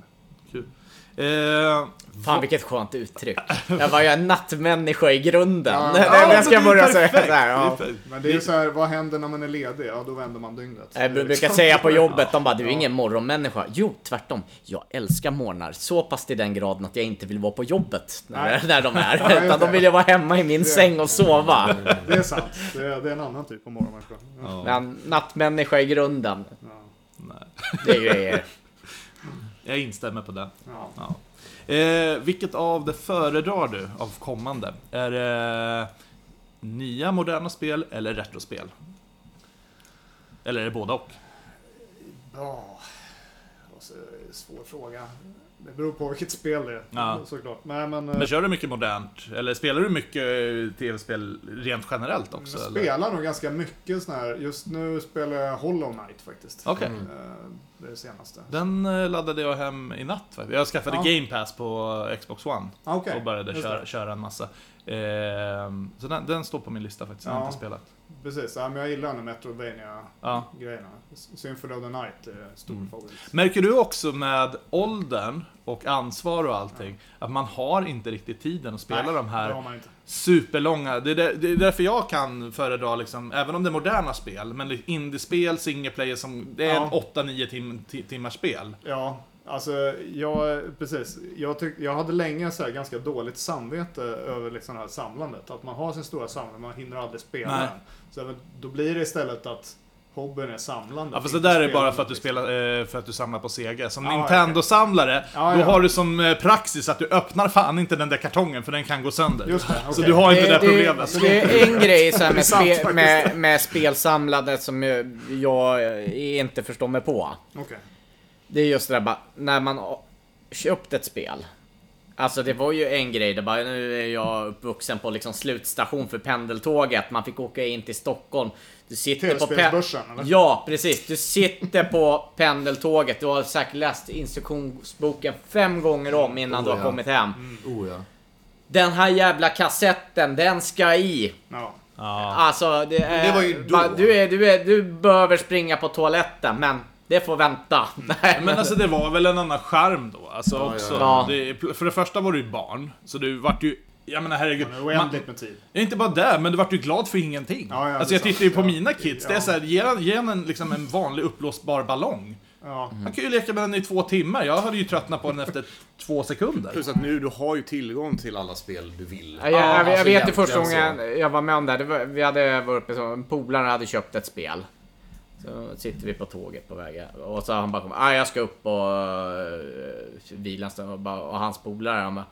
D: Eh,
A: Fan vilket skönt uttryck. Jag var ju en nattmänniska i grunden.
B: Ja.
A: det, det
B: Ja,
D: men
A: ska jag
D: det är
A: börja säga.
D: perfekt.
A: Så här, ja.
D: det är-
B: Men det är ju så här, vad händer när man är ledig? Ja, då vänder man dygnet.
A: Jag
B: Det är
A: brukar
B: liksom-
A: säga på jobbet, de bara du är
B: Ja.
A: ingen morgonmänniska. Jo, tvärtom. Jag älskar morgnar så pass till den graden att jag inte vill vara på jobbet när,
B: Nej.
A: när de
B: Nej,
A: är.
B: just
A: Utan då
B: det.
A: vill jag vara hemma i min
B: Det-
A: säng och sova.
B: Det är sant. Det är, det är en annan typ av morgonmänniska. Ja.
D: Ja.
A: Men nattmänniska i grunden,
D: Nej.
A: det är grejer.
D: Jag instämmer på det.
B: Ja.
D: Ja. Eh, vilket av det föredrar du av kommande? Är det nya moderna spel eller retrospel? Eller är det båda och?
B: Ja, Alltså, och så, svår fråga. Det beror på vilket spel det är
D: Ja.
B: såklart. Nej, men, eh,
D: Men kör du mycket modernt? Eller spelar du mycket eh, tv-spel rent generellt
B: jag
D: också? eller?
B: spelar nog ganska mycket sån här. Just nu spelar jag Hollow Knight faktiskt.
D: Okej.
B: Eh, Det är det senaste.
D: Den eh, laddade jag hem i natt faktiskt. Jag skaffade
B: Ja.
D: Game Pass på eh, Xbox One
B: Ah, okej.
D: och började
B: Just
D: köra,
B: det.
D: köra en massa. Ehm, så den, den står på min lista faktiskt, den har jag
B: Ja.
D: inte spelat.
B: Precis, ja, men jag gillar den metroidvania
D: Ja.
B: grejerna Symphony of the Night är stor
D: Mm.
B: favorit.
D: Märker du också med åldern och ansvar och allting, att man har inte riktigt tiden att spela
B: Nej,
D: de
B: Det
D: här
B: har man inte.
D: superlånga. Det är, där, det är därför jag kan föredra, liksom, även om det är moderna spel, men indiespel, single player, som, det är
B: Ja.
D: en 8-9 tim, ti- timmars spel.
B: Ja, alltså jag, precis. Jag, tyck, jag hade länge så här ganska dåligt samvete över liksom det här samlandet. Att man har sin stora samling, man hinner aldrig spela
D: Nej.
B: den. Så även- då blir det istället att hobbyn är samlande.
D: Ja, fast det
B: inte
D: där är bara
B: spelandet,
D: för att du,
B: liksom.
D: spelar, eh, för att du samlar på Sega. Som
B: Ja,
D: Nintendo-samlare,
B: Ja,
D: då
B: ja.
D: har du som eh, praxis att du öppnar fan inte den där kartongen, för den kan gå sönder.
B: Just det,
D: Så
B: okej.
D: du har inte det,
A: det,
D: problemet.
A: Det, det är en grej så här med,
B: sant
A: spe,
B: faktiskt.
A: med, med spelsamlandet som jag, jag eh, inte förstår mig på.
B: Okej.
A: Det är just det där bara, när man a- köpt ett spel. Alltså det var ju en grej, det bara, nu är jag uppvuxen på liksom slutstation för pendeltåget, man fick åka in till Stockholm. Du sitter på
B: Telespelsbörsen, eller?
A: Ja, precis. Du sitter på pendeltåget, du har säkert läst instruktionsboken fem gånger om innan
C: Oh,
A: du har
C: ja.
A: kommit hem.
C: Oh ja.
A: Den här jävla kassetten, den ska i.
B: Ja.
D: Ja.
A: Alltså, det, är,
C: Det var ju då.
A: va- Du, är, du, är, du behöver springa på toaletten, men det får vänta. Nej,
D: Men alltså det var väl en annan charm då, alltså
C: Ja,
D: också.
A: ja.
D: Det, för det första var du ju barn, så du vart ju... Jag menar herregud.
B: Man är
D: man-
B: oändligt med tid.
D: Ja, Inte bara det, men du vart ju glad för ingenting.
B: Ja, ja, det
D: alltså
B: är
D: jag
B: sant.
D: tittar ju på
B: Ja.
D: mina kids, det är
B: Ja.
D: såhär, ge, han- ge han en, liksom en vanlig uppblåsbar ballong.
B: Ja.
D: Han kan ju leka med den i två timmar, jag hade ju tröttnat på den efter två sekunder.
C: Plus att nu, du har ju tillgång till alla spel du vill.
A: Ja, jag, jag, jag
C: alltså
A: vet det
C: egentligen
A: första
C: så.
A: gången jag var med om det här. det var, Vi hade varit uppe, så- polaren hade köpt ett spel. Så sitter vi på tåget på vägen och så han bara kommer, ah, jag ska upp och eh, vila en stund." och, bara, och hans polare han bara,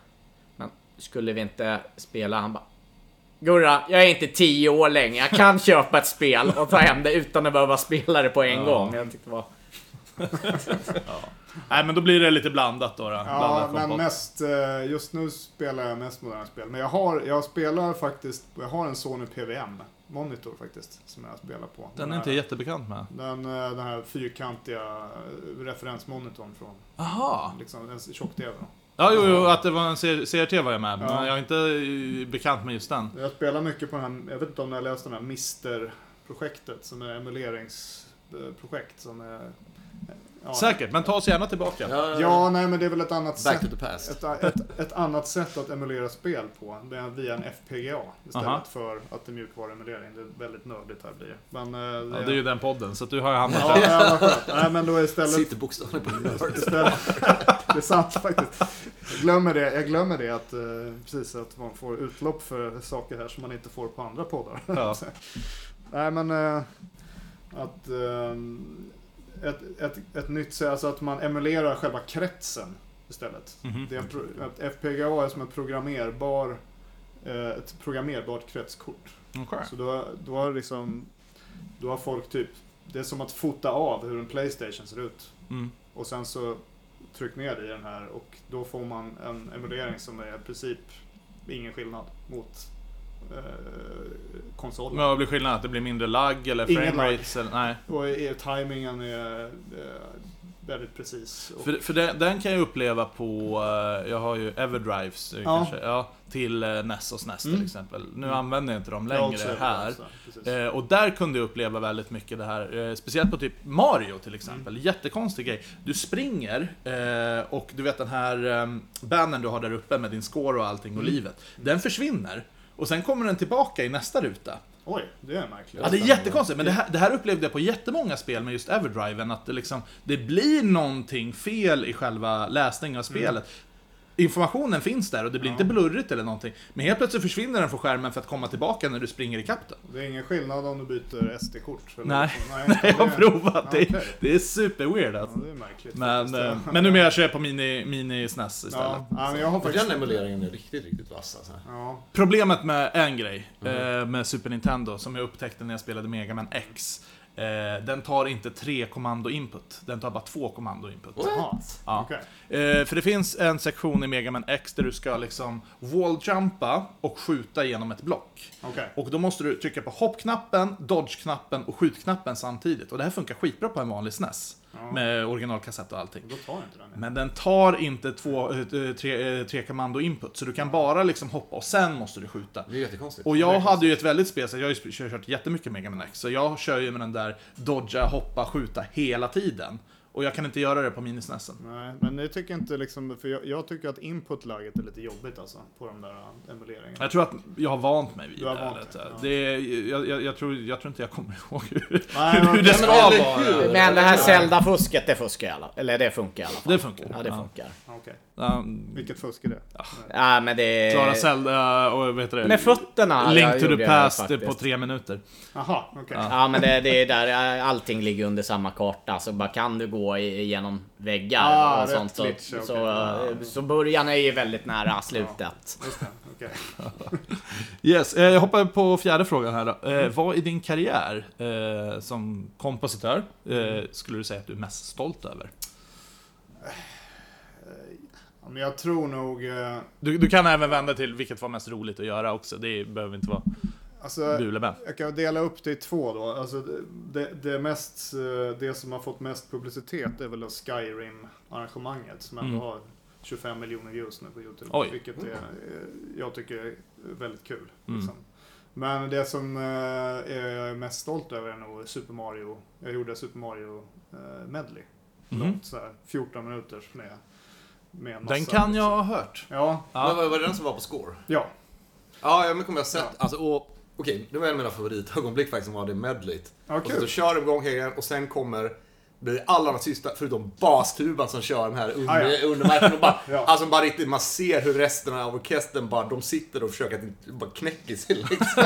A: men skulle vi inte spela? Han bara, Gurra, jag är inte tio år längre, jag kan köpa ett spel och ta hem det utan att behöva spela det på en gång. Jag tyckte det var...
D: Nej, men då blir det lite blandat då. då.
B: Ja,
D: Blandat
B: men
D: kompott.
B: mest, eh, just nu spelar jag mest moderna spel. Men jag har, jag spelar faktiskt, jag har en Sony PVM-monitor faktiskt, som jag spelar på.
D: Den är
B: här-
D: inte jättebekant med.
B: den, eh, den här fyrkantiga eh, referensmonitorn från
D: Aha.
B: liksom, en tjock-tv. då.
D: Ja, jo, jo, att det var en CRT var jag med, men
B: Ja.
D: jag är inte eh, bekant med just den.
B: Jag spelar mycket på den här, jag vet inte om ni har läst den här Mister-projektet som är emuleringsprojekt som är... Ja,
D: Säkert, men ta oss gärna tillbaka.
B: Ja, nej men det är väl ett annat
C: Back
B: sätt.
C: to the past.
B: Ett, ett, ett annat sätt att emulera spel på, det är via en FPGA istället
D: Aha.
B: för att det är mjukvaruemulering. Det är väldigt nördigt här blir det. Men, eh,
D: Ja, det är ju den podden, så att du har ju hamnat
B: Ja, ja, vad skönt. Nej, men då istället...
C: Sitter bokstavligen på nörd.
B: istället det är sant faktiskt. Jag glömmer det, jag glömmer det att, eh, precis, att man får utlopp för saker här som man inte får på andra poddar.
D: Ja.
B: Nej men eh, att eh, ett, ett, ett nytt sätt, alltså att man emulerar själva kretsen istället.
D: Mhm.
B: Det är en pro, att FPGA är som en programmerbar, eh, ett programmerbart kretskort.
D: Okej.
B: Så då, då har liksom, då har folk typ, det är som att fota av hur en Playstation ser ut.
D: Mm.
B: Och sen så tryck ner i den här och då får man en emulering som är i princip ingen skillnad mot eh, konsolen.
D: Men vad blir skillnaden? Att det blir mindre lagg eller
B: Ingen
D: framerates? eller- Nej.
B: Och är, timingen är eh, väldigt precis. Och,
D: För, för den, den kan jag uppleva på, eh, jag har ju Everdrives eh,
B: Ja.
D: kanske, ja, till eh, NES och SNES till
B: Mm.
D: exempel. Nu
B: Mm.
D: använder jag inte dem
B: Ja, också
D: längre
B: är det
D: här.
B: också, precis.
D: Eh, och där kunde jag uppleva väldigt mycket det här, eh, speciellt på typ Mario till exempel. Jättekonstig grej. Du springer eh, och du vet den här eh, bannern du har där uppe med din score och allting och livet. Den försvinner. Och sen kommer den tillbaka i nästa ruta.
B: Oj, det är märkligt.
D: Ja, det är jättekonstigt, men det här, det här upplevde jag på jättemånga spel med just Everdriven, att det, liksom, det blir någonting fel i själva läsningen av spelet. Informationen finns där och det blir inte blurrigt eller någonting. Men helt plötsligt försvinner den från skärmen för att komma tillbaka när du springer ikapp den.
B: Det är ingen skillnad om du byter SD-kort? eller-
D: Nej.
B: nej,
D: Jag har
B: det-
D: provat, det, är-
B: okej.
D: det är superweird
B: Ja,
D: alltså.
B: det är märkligt.
D: Men,
B: faktiskt.
D: eh, men numera kör jag på mini, mini SNES istället.
B: Ja, ja, men jag har faktiskt...
C: Den emuleringen är riktigt, riktigt vass alltså.
B: Ja,
D: Problemet med en grej
B: Mhm.
D: eh, med Super Nintendo som jag upptäckte när jag spelade Mega Man X. Eh, den tar inte tre kommando-input, den tar bara två kommando-input.
B: jaha.
D: Ja.
B: Okej.
D: Eh, för det finns en sektion i Mega Man X där du ska liksom walljumpa och skjuta genom ett block.
B: Okej.
D: Och då måste du trycka på hoppknappen, dodge-knappen och skjutknappen samtidigt. Och det här funkar skitbra på en vanlig SNES. Med originalkassett och allting.
B: Då tar jag inte den.
D: Men den tar inte två, eh, tre, eh, tre kommando-input, så du kan bara liksom hoppa och sen måste du skjuta.
C: Det är jättekonstigt.
D: Och jag hade ju ett väldigt spel, så jag har ju sp- kört jättemycket Mega Man X, så jag kör ju med den där dodga, hoppa, skjuta hela tiden. Och jag kan inte göra det på minisnessen.
B: Nej, men jag tycker inte liksom, för jag, jag tycker att input-laget är lite jobbigt alltså, på de där äh, emuleringarna.
D: Jag tror att jag har vant mig vid
B: Du har
D: det.
B: vant
D: lite.
B: dig, ja.
D: det är- jag, jag, jag, tror, jag tror inte jag kommer ihåg hur,
B: Nej,
D: hur
B: men-
D: det ska
C: Nej, men eller hur?
D: vara.
A: Men det här Zelda-fusket, det fuskar i alla Eller det funkar i alla fall.
D: Det funkar.
A: Ja, det funkar.
B: Okej,
D: Ja.
B: vilket fusk är det?
A: Ja, men det...
D: Klara
B: Eh,
D: Zelda och vad heter det?
A: Med fötterna.
D: Link
A: jag
D: to
A: gjorde
D: the
A: jag
D: past
A: faktiskt.
D: på tre minuter.
B: Jaha, okej.
A: Ja men det, det är där allting ligger under samma karta. Så bara kan du gå i- genom väggar
B: Ah,
A: och
B: rätt
A: sånt. Så,
B: glitch,
A: så,
B: okej.
A: eh, så början är ju väldigt nära slutet.
B: Just det, okej.
D: Yes, eh, jag hoppar på fjärde frågan här då.
B: Mm.
D: Eh, Vad i din karriär eh, som kompositör eh, skulle du säga att du är mest stolt över?
B: Eh, Ja, Men jag tror nog... eh,
D: Du, du kan även vända till vilket var mest roligt att göra också, det behöver inte vara
B: Alltså,
D: bule med.
B: jag kan dela upp det i två då. Alltså, det, det, mest, eh, det som har fått mest publicitet är väl då Skyrim-arrangemanget som ändå har 25 miljoner views nu på YouTube.
D: Mm. Oj.
B: Vilket är, eh, jag tycker är väldigt kul.
D: Mm.
B: Liksom. Men det som eh, är jag är mest stolt över är nog Super Mario. Jag gjorde Super Mario eh, medley. Långt så här, 14 minuter med, med en massa,
D: Mm. Den kan jag
B: liksom.
D: ha hört.
B: Ja,
D: Ja.
C: Men var, var det den som var på score?
B: ja.
C: Ja, ja men kommer jag sett. Alltså, och, okej, det var en av mina favoritögonblick faktiskt, som var det medleyt.
B: Ja,
C: och
B: kul.
C: så, så kör de igång grejen och sen kommer Det är alla nazister förutom bastuban som kör den här
B: Ah,
C: under,
B: ja.
C: under marken. Och bara,
B: Ja.
C: alltså bara riktigt, man ser hur resten av orkestern bara, de sitter och försöker att inte- bara knäcka sig liksom.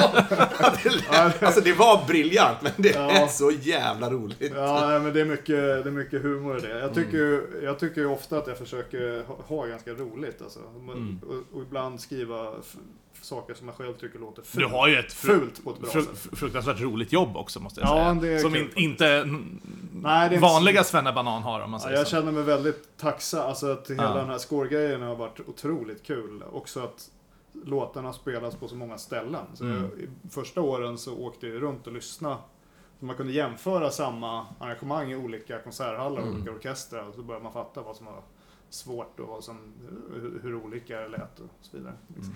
C: det, lät- alltså det var briljant, men det
B: Ja.
C: är så jävla roligt.
B: Ja, nej, men det är mycket, det är mycket humor i det. Jag tycker, ju, jag tycker ju ofta att jag försöker ha, ha ganska roligt alltså. Men- och, och ibland skriva f- saker som jag själv tycker låter
D: Du
B: fult.
D: har ju ett fru-
B: Fult på ett bra
D: fru-
B: sätt.
D: fr- fruktansvärt roligt jobb också, måste jag
B: Ja,
D: säga.
B: det är
D: Som
B: kul.
D: in, inte n-
B: Nej, det är-
D: vanliga svennebanan har, om man
B: Ja,
D: säger
B: jag
D: så.
B: känner mig väldigt tacksam. Alltså att hela
D: Ja.
B: den här score-grejen har varit otroligt kul. Också att låtarna spelas på så många ställen. Så
D: Mm.
B: jag, i första åren så åkte jag runt och lyssnade. Så man kunde jämföra samma arrangemang i olika konserthallar och
D: Mm.
B: olika orkestrar. Och så började man fatta vad som var svårt och vad som, hur, hur olika det lät och så vidare.
D: Mm.
B: Liksom.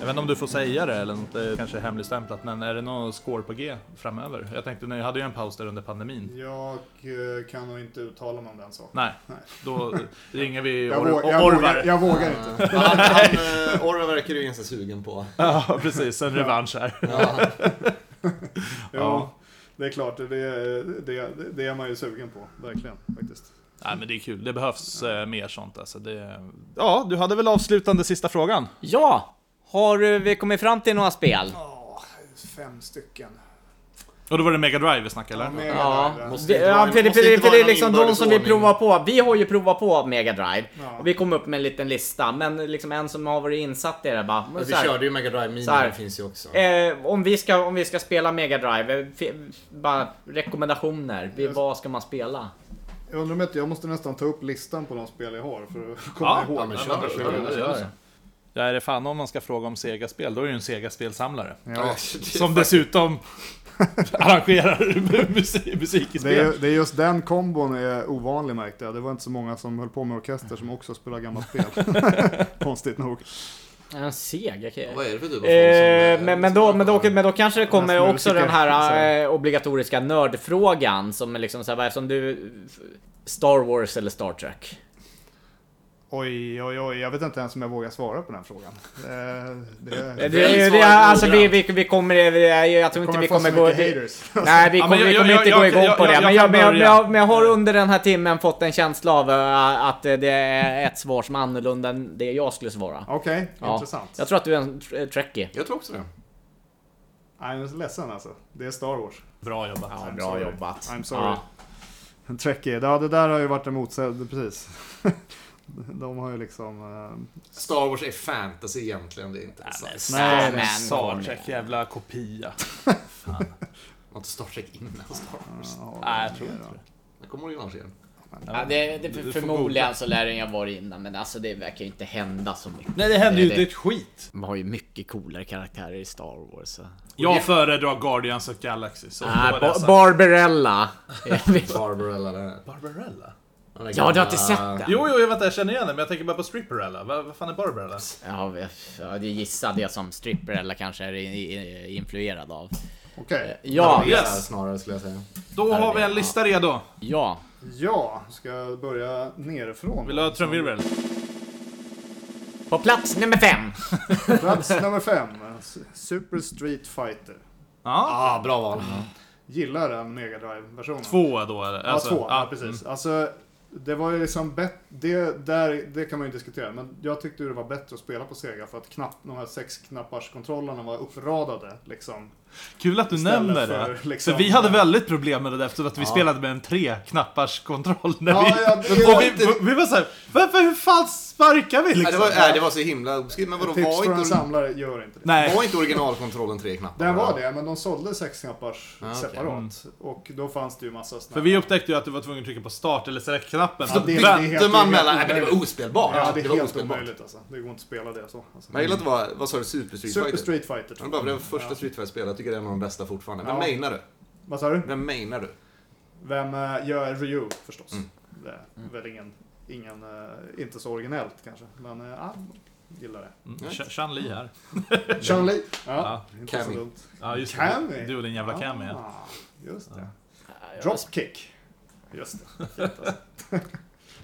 D: Jag vet inte om du får säga det eller något, det är kanske är hemligstämplat, men är det någon score på G framöver? Jag tänkte, ni hade ju en paus där under pandemin.
B: Jag eh, kan nog inte uttala mig om den saken.
D: Nej, då ringer vi
B: Jag,
D: Or-
B: vågar- jag, vågar,
D: Orvar.
B: jag vågar inte.
C: Han, han, eh, Orvar verkar ju ganska sugen på.
D: Ja, precis. En revansch här.
C: Ja.
B: Jo,
D: Ja.
B: det är klart. Det, det, det är man ju sugen på. Verkligen, faktiskt.
D: Nej, men det är kul. Det behövs eh, mer sånt alltså. Det... Ja, du hade väl avslutande sista frågan?
A: Ja! Har eh, vi kommit fram till några spel?
B: Ja, fem stycken.
D: Och då var det Mega Drive vi snackade eller?
B: Mega
A: Ja,
B: Drive,
C: Måste
A: det,
C: inte
A: ja
C: vara-
A: för, det,
C: måste
A: för, det,
C: inte
A: för det
C: vara
A: är
C: någon
A: liksom de
C: inbördes
A: som vi
C: ordning.
A: provar på. Vi har ju provat på Mega Drive
B: Ja.
A: och vi kom upp med en liten lista, men liksom en som har varit insatt i det bara.
C: Vi
A: så här,
C: körde ju Mega Drive Mini,
A: Så här.
C: den finns ju också.
A: Eh, om, vi ska, om vi ska spela Mega Drive, eh, fi- bara rekommendationer. Vi, vad ska man spela?
B: Jag undrar om inte, jag måste nästan ta upp listan på de spel jag har för att komma
D: Ja,
B: ihåg.
C: ja, men kör,
B: Ja,
C: kör,
B: ja,
C: kör.
B: ja.
D: Ja, är det fan om man ska fråga om Sega-spel, då är det ju en Sega-spelsamlare.
B: Ja.
D: Som dessutom arrangerar musik, musik i spel.
B: Det, är, det är just den kombon är ovanlig märkte jag. Det var inte så många som höll på med orkester som också spelar gamla spel. Konstigt nog.
A: En seg, okej.
C: Vad är det för typ av folk som...
A: Eh,
C: eh,
A: men, men, då, men, då, men då kanske det
B: Nästan
A: kommer också
B: musiker,
A: den här eh, obligatoriska nördfrågan som är liksom så här, vad är det som du... Star Wars eller Star Trek?
B: Oj, oj, oj. Jag vet inte ens om jag vågar svara på den frågan. Eh,
A: Det,
B: det,
A: det, det,
C: svaret
A: alltså vi,
C: noggrant.
A: vi, vi kommer... Jag, jag tror inte vi
B: få så
A: kommer gå...
B: mycket
A: Vi,
B: haters.
A: nej, vi
D: Ja, men
A: kommer, vi
D: jag-
A: kommer
D: jag-
A: inte
D: jag-
A: gå
D: jag-
A: igång på
D: jag-
A: det.
D: jag
A: Men jag,
D: kan
A: men, jag, men,
D: börja.
A: jag, men jag har under den här timmen fått en känsla av eh, att eh, det är ett svar som är annorlunda än det jag skulle svara.
B: Okej,
A: Ja.
B: intressant.
A: Jag tror att du är en tr- trekkie.
C: Jag tror också det.
B: Nej, Jag är ledsen alltså. Det är Star Wars.
D: Bra jobbat.
A: Ja,
B: I'm
A: bra
B: sorry.
A: jobbat.
B: I'm sorry.
A: Ja.
B: En Trekkie. Ja, det där har ju varit en motsägelse, precis. De har ju liksom... eh,
C: Star Wars är fantasy egentligen, det är inte science.
A: Nej,
D: Nej, men
A: men-
D: Star Trek, jävla kopia.
C: Var inte Star Trek innan Star Wars?
B: ja,
D: Nej, jag tror
B: det
D: inte
B: då.
D: det.
C: Jag kommer originalserien.
A: Ja, det, det,
D: Du får
A: förmodligen så lär den jag vara innan, men alltså det verkar ju inte hända så mycket.
D: Nej, det händer ju
A: Det- det-
D: inte ett skit.
A: Man har ju mycket coolare karaktärer i Star Wars. Så.
D: Jag föredrar Guardians of Galaxy. Så
A: Nej,
D: då är det
A: ba-
D: så-
A: Barbarella.
C: Barbarella där.
D: Barbarella?
A: ja, du har inte sett den?
D: Jo, jo, jag, vänta, jag känner igen den, men jag tänker bara på Stripperella. Vad, vad fan är Barbarella?
A: Ja, vi- ja, det gissade jag som stripper eller kanske är i- i- influerad av.
B: Okej.
A: Ja,
C: Ja,
D: Yes.
C: snarare skulle jag säga.
D: Då har vi en lista redo.
A: ja.
B: Ja, ska jag börja nerifrån?
D: Vill du ha trumvirvel?
A: På plats nummer fem.
B: Plats nummer fem. S- Super Street Fighter.
D: Ja.
C: Ah, bra val.
B: Gillar den Mega Drive-versionen.
D: Två då eller?
B: Ja,
D: Alltså,
B: två. Ja,
D: ja,
B: precis. Alltså, det var ju liksom bättre... Det, där- det kan man ju diskutera, men jag tyckte ju det var bättre att spela på Sega för att knapp, de här sexknapparskontrollerna var uppradade. Liksom.
D: Kul att du
B: Istället
D: nämner
B: för,
D: det.
B: liksom-
D: för vi hade väldigt problem med det där eftersom att vi spelade med en treknapparskontroll. När
B: Ja,
D: vi,
B: ja, det
D: och
B: var
D: vi,
C: inte-
D: vi var såhär, varför hur fan sparkar vi
C: Nej, det,
D: liksom?
C: var, nej, det var så himla obskyrt. Men vadå,
B: Tips
C: var
B: från en
C: inte,
B: samlare, gör inte det.
D: Nej,
C: var inte originalkontrollen tre knappar? Alltså,
B: Den var det, men de sålde sexknappars
C: Ja, Ah, okej. Mm.
B: separat. Och då fanns det ju massa
D: för
B: såna
D: vi upptäckte ju att du var tvungen att trycka på start eller select-knappen.
B: Ja, det- det-
D: Men-
B: helt-
C: Dömde man
B: helt
C: mellan... Nej, men det var
B: omöjligt.
C: ospelbart.
B: Ja, det är
C: var
B: helt
C: ospelbart.
B: omöjligt alltså. Det går inte att spela det så. Alltså.
C: Men jag gillar att det var, vad sa du, Super Street
B: Super
C: Fighter?
B: Street Fighter
C: Ja,
B: 2.
C: bara för det var första Street Fighter-spelet, jag tycker det är en av de bästa fortfarande. Vem
B: Ja.
C: mainar du?
B: Vad sa du?
C: Vem mainar du?
B: Vem eh, gör Ryu förstås?
C: Mm.
B: Det är väl ingen, ingen eh, inte så originellt kanske. Men eh, ja, gillar det.
D: Mm, Ch- Chan-Li här.
B: Chun-Li. Ja,
D: Ja.
B: inte så
C: Cammy.
B: dumt.
D: Ja, just det.
B: Cammy.
D: Du och din jävla Cammy. ja.
B: Ah, just det. Dropkick. Just det.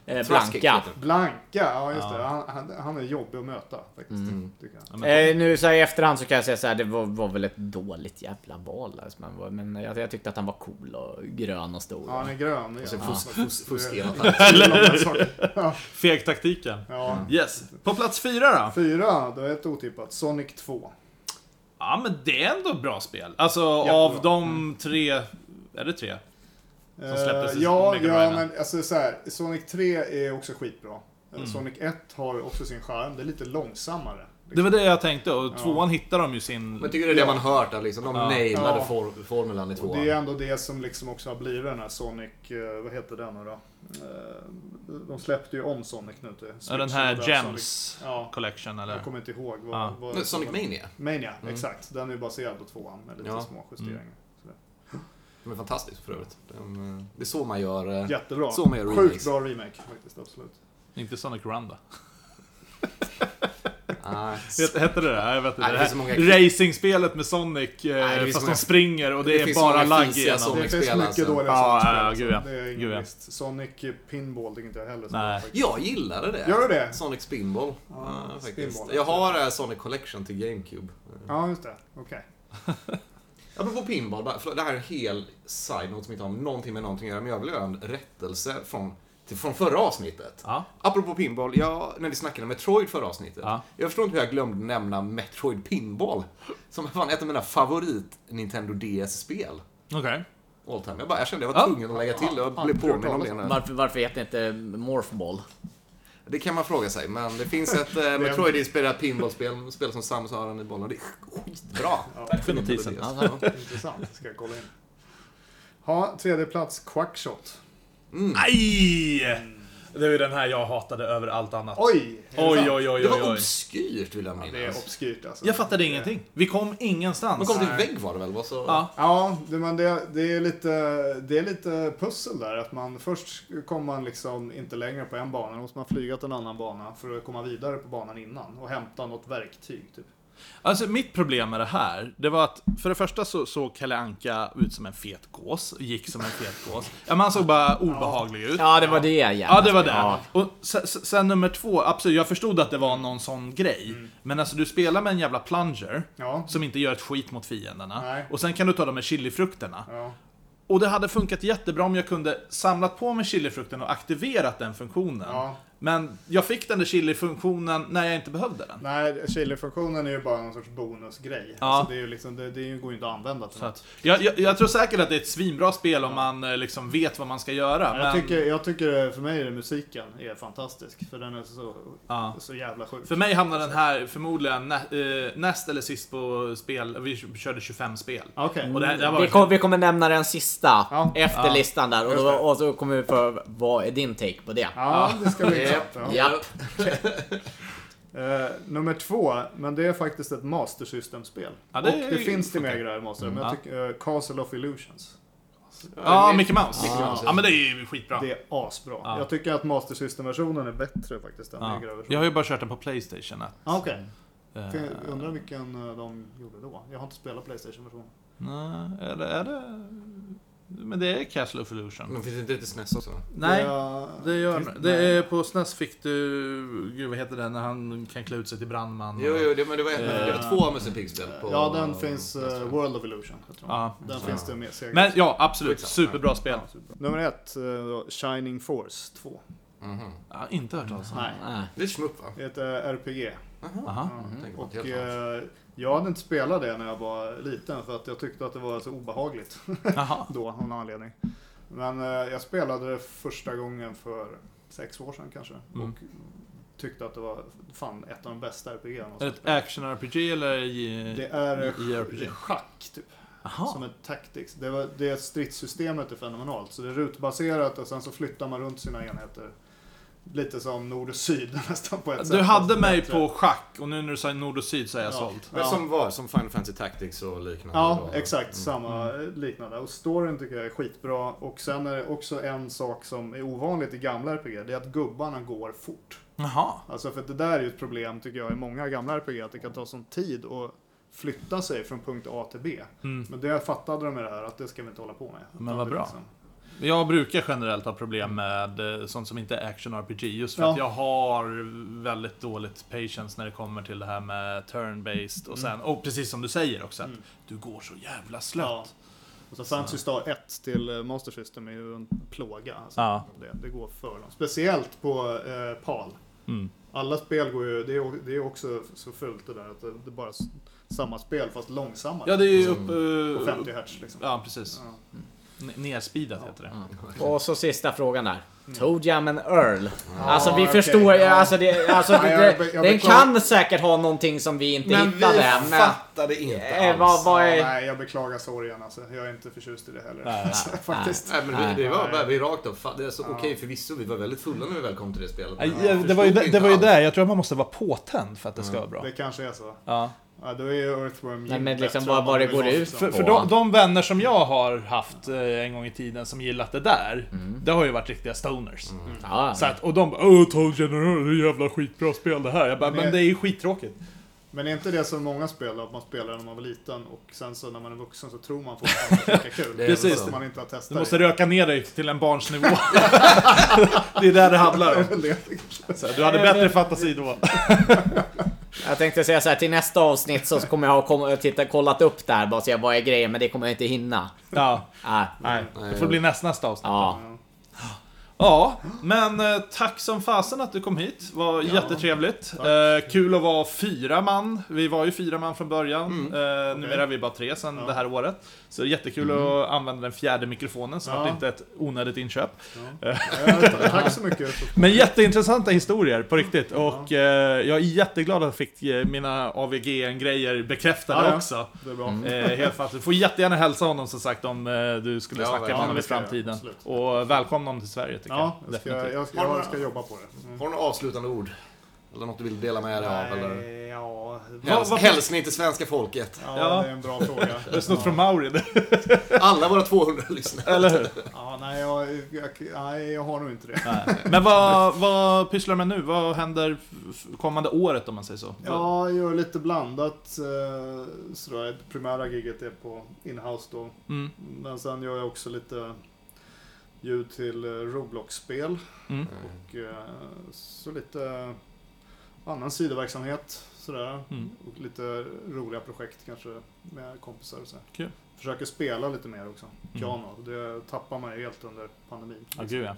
A: Eh,
C: Thrustkick
A: Blanka.
C: heter den.
B: Blanka, ja just det. Han, han, han är jobbig att möta faktiskt.
C: Mm.
B: Tycker jag.
A: Eh, nu så här i efterhand så kan jag säga så här, det var, var väl ett dåligt jävla val. Alltså, man var, men jag, jag tyckte att han var cool och grön och stor.
B: Ja, han är grön.
C: Och sen
B: Ja.
C: fus- fus- fuskig.
B: Eller?
D: Fegtaktiken.
B: Ja.
D: Yes. På plats fyra då?
B: Fyra, då är ett otippat. Sonic 2.
D: Ja, men det är ändå bra spel. Alltså, av de tre... Är det tre? Som släpptes
B: Eh,
D: i
B: ja,
D: Mega
B: ja,
D: Driven.
B: men alltså så här, Sonic 3 är också skitbra. Eh,
D: Mm.
B: Sonic 1 har också sin charm. Det är lite långsammare.
D: Det var det jag tänkte och tvåan hittar de ju sin...
C: Men tycker du det är det man hört? Att liksom, de nailade
B: Ja.
C: for- formulan i
B: Och det är
C: tvåan.
B: ändå det som liksom också har blivit den här Sonic, eh, vad heter den nu då? Eh, De släppte ju om Sonic nu till
D: Ja,
B: Switch
D: den här
B: och där
D: Gems
B: Sonic- Ja,
D: Collection eller?
B: jag kommer inte ihåg. Vad,
D: Ja. Mm.
B: vad,
C: Men Sonic Mania.
B: Mania, exakt. Den är ju baserad på tvåan med lite
C: Ja.
B: små justeringar. Sådär.
C: De är fantastisk för övrigt. Den, eh, det är så man gör... eh,
B: Jättebra.
C: Så man gör
B: Sjukt
C: remakes.
B: bra remake faktiskt, absolut.
D: Inte Sonic Run då?
C: Nej.
D: Het- Hette det det? Nej, Jag vet inte.
C: Nej,
D: Det
C: det
D: här
C: finns så många-
D: Racingspelet med Sonic, eh,
C: Nej, det finns
D: fast
C: så många-
D: de springer och det,
C: det
D: är
C: finns så
D: bara
C: många
D: lagg
C: fisiga
D: igenom.
C: Sonic-
B: Det finns
C: Sonic-spel,
B: mycket
C: alltså.
B: dåliga
D: Ja,
B: Sonic-spel.
D: ja, ja,
B: alltså.
D: gud, ja.
B: Det är
D: Gud, ja.
B: ingen brist. Sonic Pinball tycker inte jag heller. så
D: Nej.
B: bra faktiskt.
C: Jag gillade det.
B: Gör du det?
C: Sonic Spinball.
B: Ja,
C: Ja, faktiskt.
B: Spinball.
C: Jag har eh, Sonic Collection till GameCube.
B: Ja, just det. Okej.
C: Apropå pinball, bara- förlåt, det här är en hel side-note som inte har någonting med någonting att göra, men jag vill göra en rättelse från, till, från förra avsnittet.
D: Ja.
C: Apropå pinball, jag, när vi snackade Metroid förra avsnittet.
D: Ja.
C: Jag förstår inte hur jag glömde nämna Metroid Pinball. Som är fan ett av mina favorit Nintendo DS-spel.
D: Okej.
C: All time. Jag, bara, jag kände jag var
D: Ja.
C: tvungen att lägga till det. Jag blev påmind om det nu.
A: Varför, varför heter det inte Morphball?
C: Det kan man fråga sig, men det finns ett eh, Metroid-inspirerat pinballspel. Spel som Samus har i bollen. Det är skitbra.
D: Tack för notisen.
C: DS.
A: Alltså.
B: Intressant, ska jag kolla in. Ha, tredje plats, Quackshot.
D: Mm. Nej! Det är ju den här jag hatade över allt annat.
B: Oj! är det
D: oj,
B: sant?
D: oj, oj,
C: Det
D: oj,
C: var
D: oj.
C: obskyrt vill jag minnas.
B: Det är obskyrt alltså.
D: Jag fattade ingenting. Vi kom ingenstans.
C: Man kom till en vägg var det väl? Var så...
D: Ja.
B: Ja, det, men det, det, är lite, det är lite pussel där. Att man först kommer man liksom inte längre på en bana. Då måste man flyga till en annan bana för att komma vidare på banan innan. Och hämta något verktyg typ.
D: Alltså mitt problem med det här, det var att för det första så såg Kalle Anka ut som en fet gås, gick som en fet gås. Ja, men han såg bara obehaglig ut.
A: Ja, det var det jävla.
D: Ja, det var det.
A: Ja.
D: Och se- se- sen nummer två, absolut, jag förstod att det var någon sån grej. Men alltså du spelar med en jävla plunger,
B: Ja.
D: som inte gör ett skit mot fienderna.
B: Nej.
D: Och sen kan du ta de här chilifrukterna.
B: Ja.
D: Och det hade funkat jättebra om jag kunde samlat på mig chilifrukten och aktiverat den funktionen.
B: Ja.
D: Men jag fick den där chilifunktionen när jag inte behövde den.
B: Nej, chili-funktionen är ju bara någon sorts bonusgrej.
D: Ja.
B: Alltså, det, är ju liksom, det, det går ju inte att använda till
D: Så
B: något.
D: att, jag, jag, jag tror säkert att det är ett svinbra spel om man eh, liksom vet vad man ska göra.
B: Jag
D: Men
B: tycker, jag tycker för mig är musiken är fantastisk. För den är så,
D: Ja.
B: så jävla sjuk.
D: för mig hamnar den här förmodligen nä, eh, näst eller sist på spel. Vi körde 25 spel.
B: Okej.
D: Och det, här- det här var
A: Vi, kom, vi kommer nämna den sista
B: Ja.
A: efter
D: Ja.
A: listan där och,
B: Just
A: då,
B: det.
A: och så kommer vi få, vad är din take på det?
B: Ja, det ska bli intressant. Ja.
A: Japp.
B: Eh, nummer två, men det är faktiskt ett Master System-spel.
D: Ja, det
B: och det
D: är- Mm.
B: finns till Mega Drive Master, men jag
D: Ja.
B: tycker eh, Castle of Illusions.
D: Ja, Mickey Mouse.
C: Mickey
D: Ja.
C: Mouse, ja.
D: ja, men det är ju skitbra.
B: Det är asbra.
D: Ja.
B: Jag tycker att Master System-versionen är bättre faktiskt än
D: Ja.
B: Mega Drive-versionen.
D: Jag har ju bara kört den på Playstation. att,
B: Ah, Okej,
D: eh,
B: Fin- undrar vilken eh, de gjorde då. Jag har inte spelat Playstation-versionen.
D: Nej, är det, är det... Men det är Castle of Illusion.
C: Men finns det inte till SNES också?
D: Nej,
B: jag,
D: det gör
B: Mm. finns-
D: Det
B: nej.
D: är på SNES fick du... Gud, vad heter den när han kan klä ut sig till brandman? och-
C: Jo, jo, det, men det var, ett, det var två Musse Pigg-spel på...
B: Eh, Ja, den finns eh, World of Illusion. Jag tror.
D: Ja.
B: Den finns det med Sega.
D: Men ja, absolut.
C: Skitsamma.
D: Superbra spel.
B: Nummer ett, eh, Shining Force 2.
C: Mm.
D: Ja, inte hört talas om.
B: Nej,
A: Nej.
C: Mhm. Det är ett shmup va?
B: det är ett eh, RPG.
D: Aha.
C: Tänk på
B: Mm. Och
C: ett Mm. helt annat.
B: eh, jag hade inte spelat det när jag var liten för att jag tyckte att det var så obehagligt
D: Aha.
B: då av någon anledning. Men eh, jag spelade det första gången för sex år sedan kanske
D: Mm.
B: och tyckte att det var fan ett av de bästa RPG n
D: Är det ett action-RPG eller... i-
B: Det är eh,
D: JRPG?
B: schack typ.
D: Aha.
B: Som ett tactics. Det, var, det stridssystemet är fenomenalt. Så det är rutbaserat och sen så flyttar man runt sina enheter. Lite som nord och syd nästan på ett sätt.
D: Du hade
B: fast
D: mig
B: bättre.
D: på schack och nu när du sa nord och syd så är jag
B: Ja.
D: såld.
C: Men som var, som Final Fantasy Tactics och liknande.
B: Ja,
C: då.
B: exakt. Samma eh, liknande. Och storyn tycker jag är skitbra. Och sen är det också en sak som är ovanligt i gamla RPG. Det är att gubbarna går fort.
D: Jaha.
B: Alltså för att det där är ju ett problem tycker jag i många gamla RPG. Att det kan ta sån tid att
D: Mm.
B: flytta sig från punkt A till B. Men det fattade de med Liksom. det här att det ska vi inte hålla på med.
D: Men vad
B: Utan det är
D: bra. Jag brukar generellt ha problem med eh, sånt som inte är action RPG just för
B: Ja.
D: att jag har väldigt dåligt patience när det kommer till det här med turn-based och sen, och precis som du säger också, att
B: Mm.
D: du går så jävla
B: Ja.
D: slött.
B: Och så Fantasy Star 1 till eh, Master System är ju en plåga. Alltså.
D: Ja.
B: Det, det går för långt. Speciellt på eh, PAL.
D: Mm.
B: Alla spel går ju, det är, o- det är också så fult det där att det, det är bara s- samma spel fast långsammare.
D: Ja, det är ju
C: Mm.
D: upp... eh,
B: På 50 hertz liksom.
D: Ja, precis.
B: Ja.
D: N- Nerspeedat
B: Ja.
D: heter det.
A: Och så sista frågan där. Toe Jam and Earl. Alltså vi
B: okej,
A: förstår ju,
B: ja.
A: alltså, det, alltså
B: Ja,
A: det,
B: jag
A: det,
B: be- jag
A: den
B: beklagar.
A: kan säkert ha någonting som vi inte
C: Men vi
A: hittade. Men
C: fattade inte
A: Eh,
C: alls.
A: vad, vad
B: Ja,
A: är...
B: nej, jag beklagar sorgen alltså. Jag är inte förtjust i det heller.
D: Nej.
B: Faktiskt.
C: Nej, men
A: Nej.
C: vi, det var bara vi rakt upp. Fan, det är så- Okej, förvisso, vi var väldigt fulla när vi väl kom till det spelet. men
D: Nej,
C: jag
D: det var ju,
C: förstod
D: det, det var ju
C: inte
D: där, jag tror att man måste vara påtänd för att det ska vara bra.
B: Det kanske är så.
D: Ja.
B: Ja, då är ju Earthworm
A: Nej, men
B: Jim
A: liksom
B: bättre
A: vad-
B: om
A: vad
B: man
A: det
B: vill
A: går
B: ha
A: ut
B: så.
D: För, för
A: Ja.
D: de, de vänner som jag har haft eh, en gång i tiden som gillat det där, det har ju varit riktiga stoners. Mm.
A: Ja,
D: Så att, och de bara Åh, Tolkien General, det är jävla skitbra spel det här. Jag bara,
B: Men
D: men,
B: det-
D: det är ju skittråkigt.
B: Men är inte det som många spel, att man spelar när man var liten och sen så när man är vuxen så tror man fortfarande att det är lika kul.
C: Det är
D: Precis.
B: Fast man inte har testat
D: Du måste röka ner dig till en barns nivå. det är där det handlar om.
B: det.
D: Så här, du hade bättre fantasi då.
A: jag tänkte säga så här till nästa avsnitt så kommer jag ha kom, titta, kollat upp där bara se vad är grejen, men det kommer jag inte hinna.
D: Ja,
A: Ah.
D: nej. Det får bli nästa nästa avsnitt.
A: Ja.
D: Ja, men eh, tack som fasen att du kom hit. var jättetrevligt. Eh, kul att vara fyra man. Vi var ju fyra man från början.
B: Mm.
D: Eh, Numera är vi bara tre sen det här året. Så jättekul att använda den fjärde mikrofonen, så
B: Mm. Ja.
D: vart det inte ett onödigt inköp.
B: Ja, tack så mycket. för-
D: Men jätteintressanta historier, på riktigt. Och eh, jag är jätteglad att jag fick eh, mina AVGN-grejer bekräftade
B: Ja, ja.
D: också.
B: Det är bra.
D: Eh, helt fast. Du får jättegärna hälsa honom som sagt om eh, du skulle
C: Ja,
D: snacka med
C: verkligen.
D: honom i
B: Det ska jag,
D: framtiden.
B: absolut.
D: Och välkomna honom till Sverige tycker
B: Ja,
D: jag.
B: jag ska,
D: Definitivt.
B: jag, jag, jag ska jobba på det. Mm.
C: Har du några avslutande ord? Eller något du vill dela med dig av? Eller?
B: Nej, ja,
C: Häls,
D: vad-
C: hälsning till svenska folket.
B: ja, det är en bra fråga.
D: Det är snott från Mauri. det-
C: Alla våra 200 lyssnare.
D: Eller hur?
B: Ja, nej, jag, jag, nej, jag har nog inte det.
D: Men vad, vad pysslar du med nu? Vad händer f- kommande året om man säger så?
B: Ja, jag gör lite blandat. eh, Sådär. Det primära giget är på inhouse då.
D: Mm.
B: Men sen gör jag också lite ljud till eh, Roblox-spel.
D: Mm.
B: Och eh, så lite annan sidoverksamhet. Sådär.
D: Mm.
B: Och lite roliga projekt kanske med kompisar och så. här.
D: Kul. Mm.
B: Försöker spela lite mer också. Piano. Det tappar man ju helt under pandemin.
D: Ja, gud ja.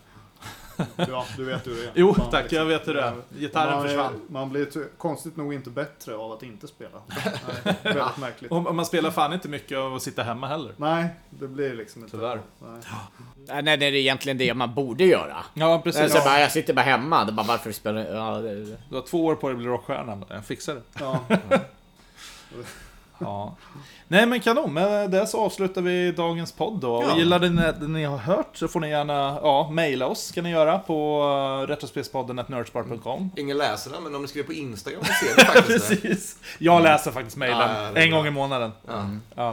B: Ja, du vet hur det är.
D: Jo,
B: Man
D: tack.
B: liksom-
D: Jag vet hur det är. Gitarren
B: man, är-
D: försvann.
B: Man blir ty- konstigt nog inte bättre av att inte spela. Nej, väldigt märkligt.
D: Och och man spelar fan inte mycket av att sitta hemma heller.
B: Nej, det blir liksom inte.
D: Tyvärr.
B: Nej.
A: Nej, nej, det är egentligen det man borde göra.
D: Ja,
A: Men
D: precis.
A: så bara, jag sitter bara hemma, det är bara varför spelar ja, det,
D: Du har två år på dig att bli rockstjärna. Jag fixar det.
B: Ja.
D: Ja. Nej men kanon, med det så avslutar vi dagens podd då. Och gillar ni det ni har hört så får ni gärna ja, mejla oss, ska ni göra, på eh, retrospelspodden.nerdspar.com.
C: Ingen läser den, men om ni skriver på Instagram så ser ni faktiskt det.
D: Precis! Jag läser faktiskt
C: Ja, ja, det är
D: mejlen
C: bra.
D: en gång i månaden.
C: Ja.
D: Ja.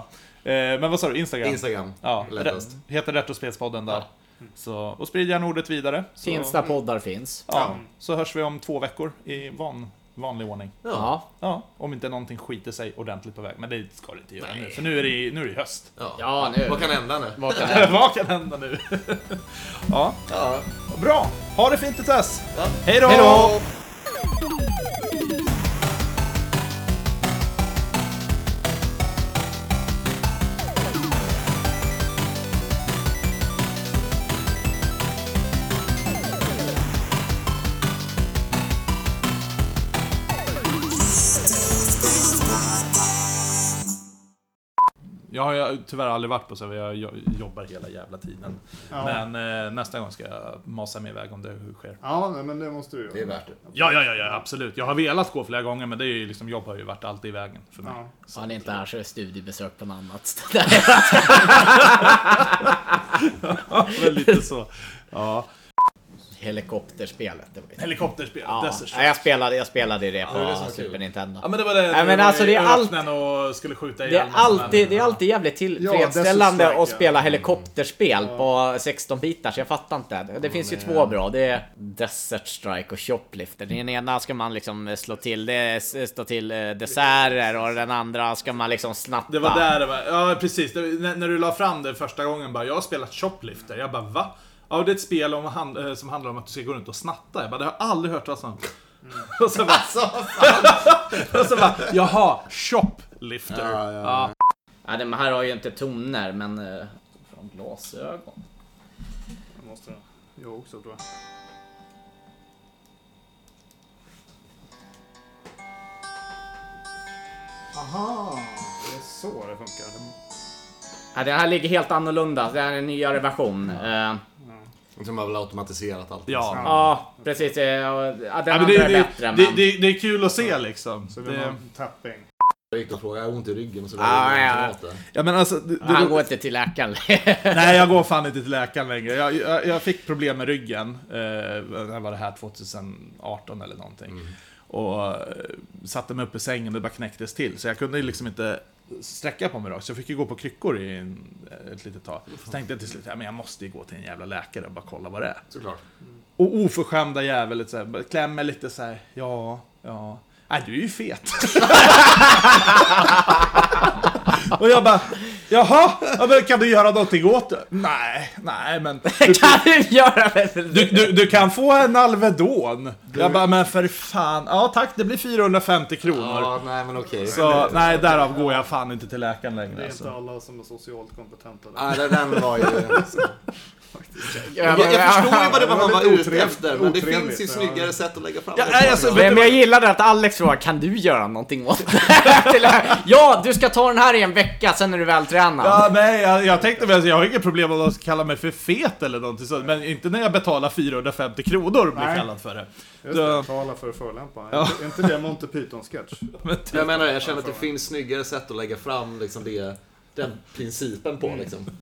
D: Eh, Men vad sa du, Instagram?
C: Instagram.
D: Ja,
C: Lättast.
D: re- heter Retrospelspodden där. Så, och sprid gärna ordet vidare. Så,
A: finns där poddar finns.
D: Ja, så hörs vi om två veckor i van, vanlig ordning.
A: Ja.
D: Ja, om inte någonting skiter sig ordentligt på väg. Men det ska det inte göra nu, för nu är det, nu är det höst.
A: Ja, nu.
C: Vad kan hända nu?
A: Vad kan det
D: Vad kan hända nu? ja,
C: Ja.
D: bra! Ha det fint tills dess!
C: Ja.
D: Hej då!
C: då!
D: Jag har ju tyvärr aldrig varit på Säve, jag jo- jobbar hela jävla tiden.
B: Ja.
D: Men eh, nästa gång ska jag masa mig iväg om det sker.
B: ja, nej, men det måste du göra.
C: Det är värt det.
D: Ja, ja, ja, ja, absolut. Jag har velat gå flera gånger, men det är ju liksom, jobb har ju varit alltid i vägen för mig.
B: Ja.
A: Han är inte här så är det studiebesök på något annat ställe.
D: Ja, men lite så. Ja.
A: helikopterspelet. Det var ju...
D: Helikopterspelet,
A: Ja,
D: Desert Strike.
A: jag spelade, jag spelade det på
C: det är det som är kul.
A: Super Nintendo.
D: Ja men det var det,
A: men
D: du var
A: alltså,
D: i
A: det är allt-
D: öknen och skulle skjuta
A: Det
D: ihjäl
A: är,
D: massa
A: alltid, det är
D: människor.
A: alltid jävligt
B: Ja,
A: tillfredsställande
B: Desert Strike,
A: att
B: ja.
A: spela helikopterspel på 16 bitar så jag fattar inte. Det finns ju två bra. Det är Desert Strike och Shoplifter. Den ena ska man liksom slå till, det är, slå till eh, desserter och den andra ska man liksom snappa.
D: Det var där det var. Ja, precis. Det, när, när du la fram det första gången bara, jag har spelat Shoplifter. Jag bara, va? Ja, det är ett spel om, hand- eh, som handlar om att du ska gå runt och snatta. Jag bara, det har jag aldrig hört talas om. och så bara, och så bara, jaha, Shoplifter.
C: Ja, ja,
D: ja.
A: Ja, de här har ju inte toner men... eh, Från glasögon.
B: Jag måste jag också tror jag. Aha, det är så det funkar.
A: Ja, den här ligger helt annorlunda. Det här är en nyare version. Eh,
C: Jag tror man Liksom har väl automatiserat allt.
D: Ja.
A: Ja, precis. eh, Ja, den
D: Ja,
A: andra
D: men det,
A: är
D: det,
A: bättre
D: det,
A: men...
D: det, det, är kul att se liksom.
B: Så det Alltså. är
D: Det,
B: någon tapping.
C: Jag gick och frågade, jag har ont i ryggen och så
A: Ah,
C: var det
A: ja.
C: kamrater.
D: ja, men alltså, det, det,
A: Han går inte till läkaren.
D: Nej, jag går fan inte till läkaren längre. Jag, jag, jag fick problem med ryggen. Eh, när var det här? 2018 eller någonting.
B: Mm.
D: Och eh, satte mig upp i sängen och det bara knäcktes till. Så jag kunde ju liksom inte sträcka på mig rakt. Så jag fick ju gå på kryckor i en, ett litet tag. Så tänkte jag till slut, ja, men jag måste ju gå till en jävla läkare och bara kolla vad det är.
C: Såklart.
D: Och oförskämda jävel lite så här, bara klämmer lite så här. ja, ja. Nej, du är ju fet. och jag bara, jaha, ja, men kan du göra någonting åt det? Nej, nej men. Du,
A: kan du göra det?
D: du, du, du kan få en Alvedon. Jag bara, men för fan. Ja tack, det blir 450 kronor.
C: Ja, nej men okej.
D: Så nej, därav går jag fan inte till läkaren
B: Det
D: längre.
B: är
D: Alltså.
B: inte alla som är socialt kompetenta. Där.
C: Nej, det- den var ju... Jag, jag förstår ju vad det var man var ute efter, men det
B: Otrevligt,
C: finns ju
B: ja.
C: snyggare sätt att lägga fram
D: Ja,
C: det.
D: nej, alltså,
A: Men jag gillade att Alex frågade, kan du göra någonting åt det här?" Till det här? Ja, du ska ta den här i en vecka, sen är du vältränad.
D: Ja, nej, jag, jag tänkte väl, jag har inget problem om de ska kalla mig för fet eller någonting sånt, men inte när jag betalar 450 kronor och blir
B: Nej.
D: kallad för det.
B: Just
D: Då-
B: det, tala för att förolämpa. Är inte det Monty Python-sketch?
D: Mm.
C: Jag menar, jag känner att det finns snyggare sätt att lägga fram liksom det, den principen på liksom.